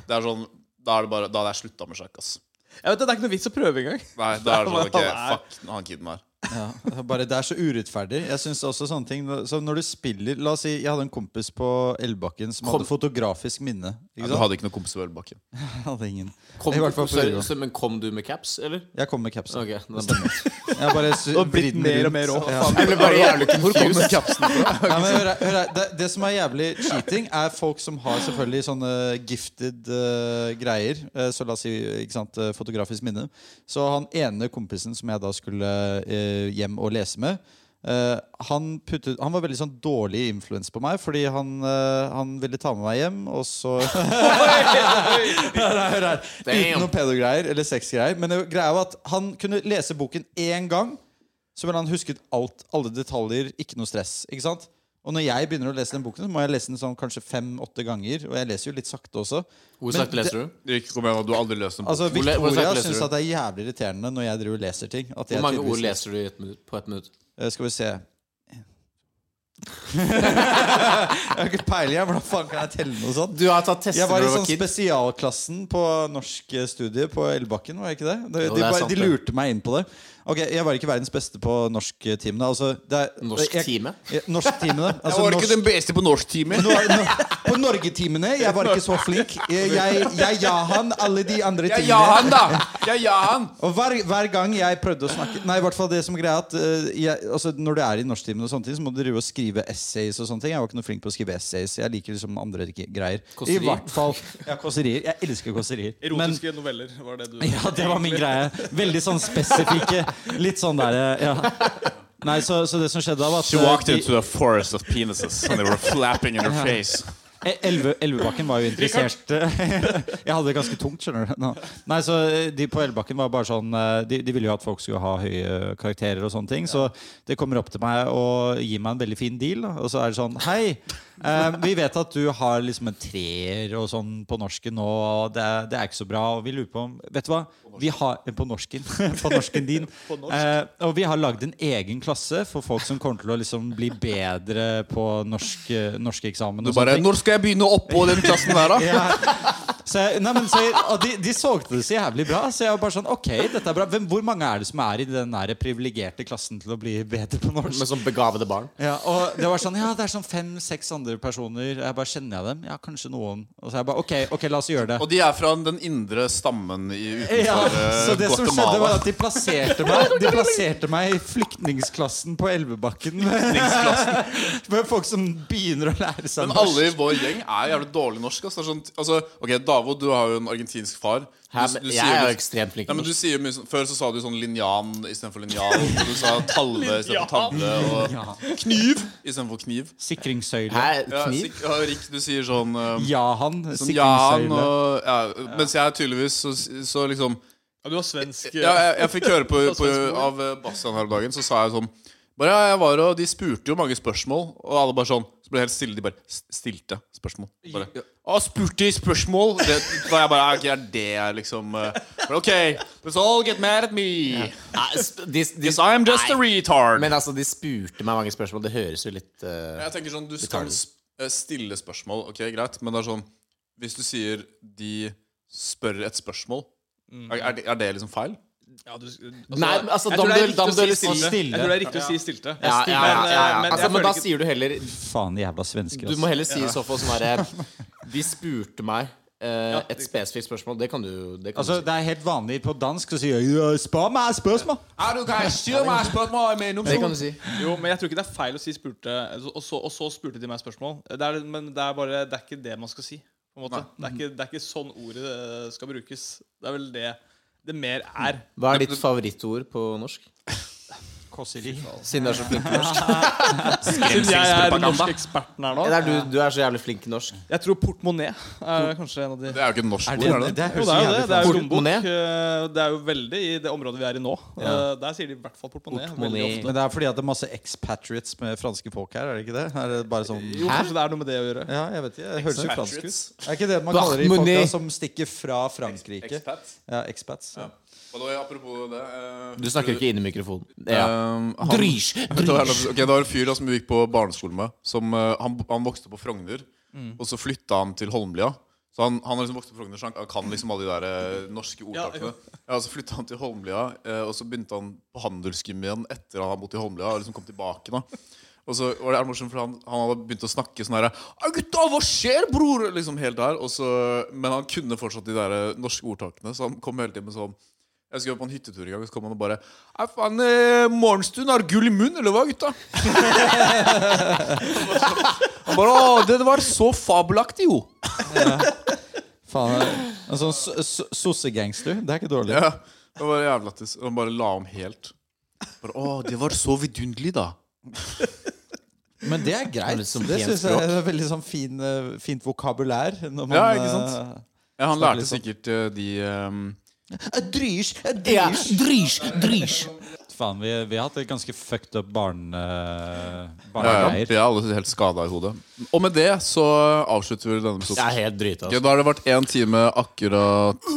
Det er sånn, Da er det bare, da hadde jeg slutta med sjakk, ass. Jeg vet, Det det er ikke noe vits å prøve engang. Nei, da er det <laughs> sånn, ok, Han er- fuck han kiden her. Ja, det er bare, det er så urettferdig. Jeg synes også sånne ting Så når du spiller La oss si jeg hadde en kompis på Elbakken som Kom- hadde fotografisk minne. Ikke Du sant? hadde ikke noen kompis på ølbakken. Jeg hadde ingen. Kom, I hvert fall på sorry, videoen. så- men kom du med caps, eller? Jeg kom med capsen. Ok, det stemmer. Jeg bare sy- Og blitt vridde den mer og rundt. mer rå. Ja. Jeg ble bare jævlig confused. Nei, men hør, her- hør, her. det, det som er jævlig cheating, er folk som har selvfølgelig sånne gifted eh, greier. Eh, så la oss si ikke sant, eh, fotografisk minne. Så han ene kompisen som jeg da skulle eh, hjem og lese med, eh, han, puttet, han var veldig sånn dårlig influens på meg, fordi han, eh, han ville ta med meg hjem, og så <laughs> Hør her, hør her. Uten Damn. noen pedo-greier eller sex-greier. Men det greia var at han kunne lese boken én gang, så ville han husket alt, alle detaljer, ikke noe stress. Ikke sant? Og når jeg begynner å lese den boken, så må jeg lese den sånn kanskje fem-åtte ganger. Og jeg leser jo litt sakte også. Hvor Men sakte det- leser du? Ikke kom igjen, da, du har aldri løst en Altså, le- hvor Victoria sakte leser syns du? at det er jævlig irriterende når jeg driver og leser ting. At Hvor jeg mange ord tydeligvis- leser du i et minutt, på ett minutt? Eh, Skal vi se <laughs> Jeg har ikke peiling, jeg. Hvordan faen kan jeg telle noe sånt? Du har tatt tester Jeg var når i du var sånn kid. spesialklassen på norsk eh, studie på Elbakken, var jeg ikke det? De, Jo, de, det er bare, sant de det. lurte meg inn på det. Ok, Jeg var ikke verdens beste på norsktimene. Altså, det er- jeg- Norsktimene? Ja, <laughs> Norsktimene. Altså, norsk- beste på norsktimen. Nå er- nå- på norgetimene. Jeg var ikke så flink. Jeg, jeg, jeg ja han alle de andre timene. da! <laughs> Jeg ja han! Og hver, hver gang jeg prøvde å snakke Nei, i hvert fall det som er greia at eh, jeg, altså, Når du er i norsktimen, og sånne ting, så må du drive og skrive essays. og sånne ting Jeg var ikke noe flink på å skrive essays. Jeg liker liksom andre g- greier. Kåserier. I hvert fall Ja, kåserier. Jeg elsker kåserier. Men- Erotiske noveller var det du ja, det var min greie. Veldig sånn spesifikke. Litt sånn derre ja. Nei, så, så det som skjedde da, var at She walked eh, de- into a forest of penises and they were flapping in her face. E- Elve, Elvebakken var jo interessert <laughs> Jeg hadde det ganske tungt, skjønner du. Nå. Nei, så eh, De på Elvebakken var bare sånn eh, de, de ville jo at folk skulle ha høye eh, karakterer og sånne ting. Så de kommer opp til meg og gir meg en veldig fin deal. da. Og så er det sånn Hei, eh, vi vet at du har liksom en treer og sånn på norsken, og det, er- det er ikke så bra. Og vi lurer på om Vet du hva? Vi har eh, På norsken. <laughs> på norsken din. Eh, og vi har lagd en egen klasse for folk som kommer til å liksom bli bedre på norsk, norsk eksamen. Du bare 'Når skal jeg begynne oppå den klassen der, da?' <laughs> Ja. Så jeg, nei, men så jeg, og de, de solgte det så jævlig bra. Så jeg var bare sånn, ok, dette er bra Hvem, Hvor mange er det som er i den der privilegerte klassen til å bli bedre på norsk? Med sånn begavede barn. Ja, og det var sånn, ja, det er sånn fem-seks andre personer. Jeg bare Kjenner jeg dem? Ja, kanskje noen. Og så jeg bare, ok, ok, la oss gjøre det. Og de er fra den indre stammen i utenfor Ja, eh, så det som skjedde var Guatemala. at De plasserte meg De plasserte meg i flyktningsklassen på Elvebakken. <laughs> Med folk som begynner å lære seg Men alle i vår gjeng er jævlig dårlig norsk. ass. Det er sånn, altså, ok, Davod, du har jo en argentinsk far. Du, Hæ, men jeg sier er jo- jo ekstremt flink Nei, men du sier jo mye sånn- Før så sa du sånn linjan istedenfor linjal. <laughs> og Du sa talve istedenfor tavle. Ja. Og kniv istedenfor kniv. Sikringssøyle. Hæ, Ja, kniv? sik- ja, Rik, du sier sånn um, Jahan. sånn Jan Sikringssøyle. og ja, Mens jeg tydeligvis så, så liksom Ja, du var svensk. Ja, jeg, jeg fikk høre på, på, Svensk mor. av eh, Bastian her om dagen, så sa jeg sånn bare, ja, jeg var og De spurte jo mange spørsmål, og alle bare sånn Så ble det helt stille. De bare s- stilte spørsmål. Bare, å, spurte de spørsmål? Det, da jeg bare ja, Ok, er det jeg liksom eh, bare, OK, let's all get mad at me. Nei, sp- de, de, Yes, I'm just a nei. retard. Men altså, de spurte meg mange spørsmål. Det høres jo litt eh, jeg tenker sånn, Du tar skal det. sp- eh, stille spørsmål, ok, greit, men det er sånn Hvis du sier de spør et spørsmål, er, er, det, er det liksom feil? Ja, du, altså, Nei, men altså, jeg da tror må det er du- riktig da å må du si liksom- stilte. Stille. Jeg tror det er riktig å si stilte. ja, ja, ja, ja, ja. Men, eh, men Altså, jeg men da føler ikke sier du heller Faen, jævla svensker. Du ass. må heller si i så fall sånn <laughs> herre De spurte meg eh, Ja, et spesifikt spørsmål. Det kan du, det kan du Altså, si. det er helt vanlig på dansk å si «Ja, Spør meg spørsmål! Er Ah, du kan styre meg spørsmål med noen Det kan du si. Jo, men jeg tror ikke det er feil å si spurte, altså, og så, og så spurte de meg spørsmål. Det er, men det er bare Det er ikke det man skal si. På en måte. Det, er ikke, det er ikke sånn ordet eh, skal brukes. Det er vel det det mer <laughs> er. Hva er ditt favorittord på norsk? Kåseri. Siden du er så flink i norsk. Siden jeg er norskeksperten her nå. Eller er du, du er så jævlig flink i norsk. Jeg tror portemonnaie er kanskje en av de Det er jo ikke et norsk Er ord, det, er det? det, Jo, høres det er jo jævlig det. Det er jo Portemonnaie. lommebok. eh, Det er jo veldig i det området vi er i nå. Eh, Der sier de i hvert fall portemonnaie. veldig Portemonnaie. ofte. Men det er fordi at det er masse expatriates med franske folk her, er det ikke det? Er det bare sånn Jo, kanskje det er noe med det å gjøre. Ja, jeg vet ikke. Det høres jo fransk ut. Expatriates. Er ikke det man kaller de folka Portemonnaie. som stikker fra Frankrike? Expat. Ja, expats. Ja. Og da, apropos det eh, Du snakker jo ikke inn i mikrofonen. Ja. Ja. Um, han- Drysj! Vet du hva, Ok, Det var en fyr da, som vi gikk på barneskole med. Som, eh, han, han vokste på Frogner, og så flytta han til Holmlia. Så han, han har liksom vokst på Frogner, så han kan liksom alle de der eh, norske ordtakene. Ja, og Så flytta han til Holmlia, eh, og så begynte han på handelsgymien etter han hadde bodd i Holmlia. Og liksom kom tilbake da Og så var det jævlig morsomt, for han, han hadde begynt å snakke sånn herre «Au, Gutta, hva skjer, bror? Liksom helt der. Og så, men han kunne fortsatt de der eh, norske ordtakene, så han kom hele tiden med sånn jeg skulle på en hyttetur i gang, og så kom han og bare Hei, faen, eh, morgenstund har gull i munnen, eller hva, <laughs> gutta? han bare Å, det var så fabelaktig, jo. Faen, en sånn so- so- sossegangster. Det er ikke dårlig. Ja, det var jævlig lættis. Og Han bare la om helt. Bare, Å, det var så vidunderlig, da. Men det er greit. Det er litt som Det pent synes jeg er veldig sånn fin, eh, fint vokabulær. Når man, Ja, ikke sant? eh, Ja, han Snakk lærte litt om- sikkert eh, de ehm, Drysj, Ja, drysj, drysj. Faen, vi, vi har hatt et ganske fucked up barn, eh, ja, ja, barnegreier. De er alle helt skada i hodet. Og med det så avslutter vi denne Jeg episoden. er helt drita. Ok, da har det vært én time akkurat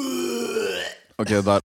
Ok, der.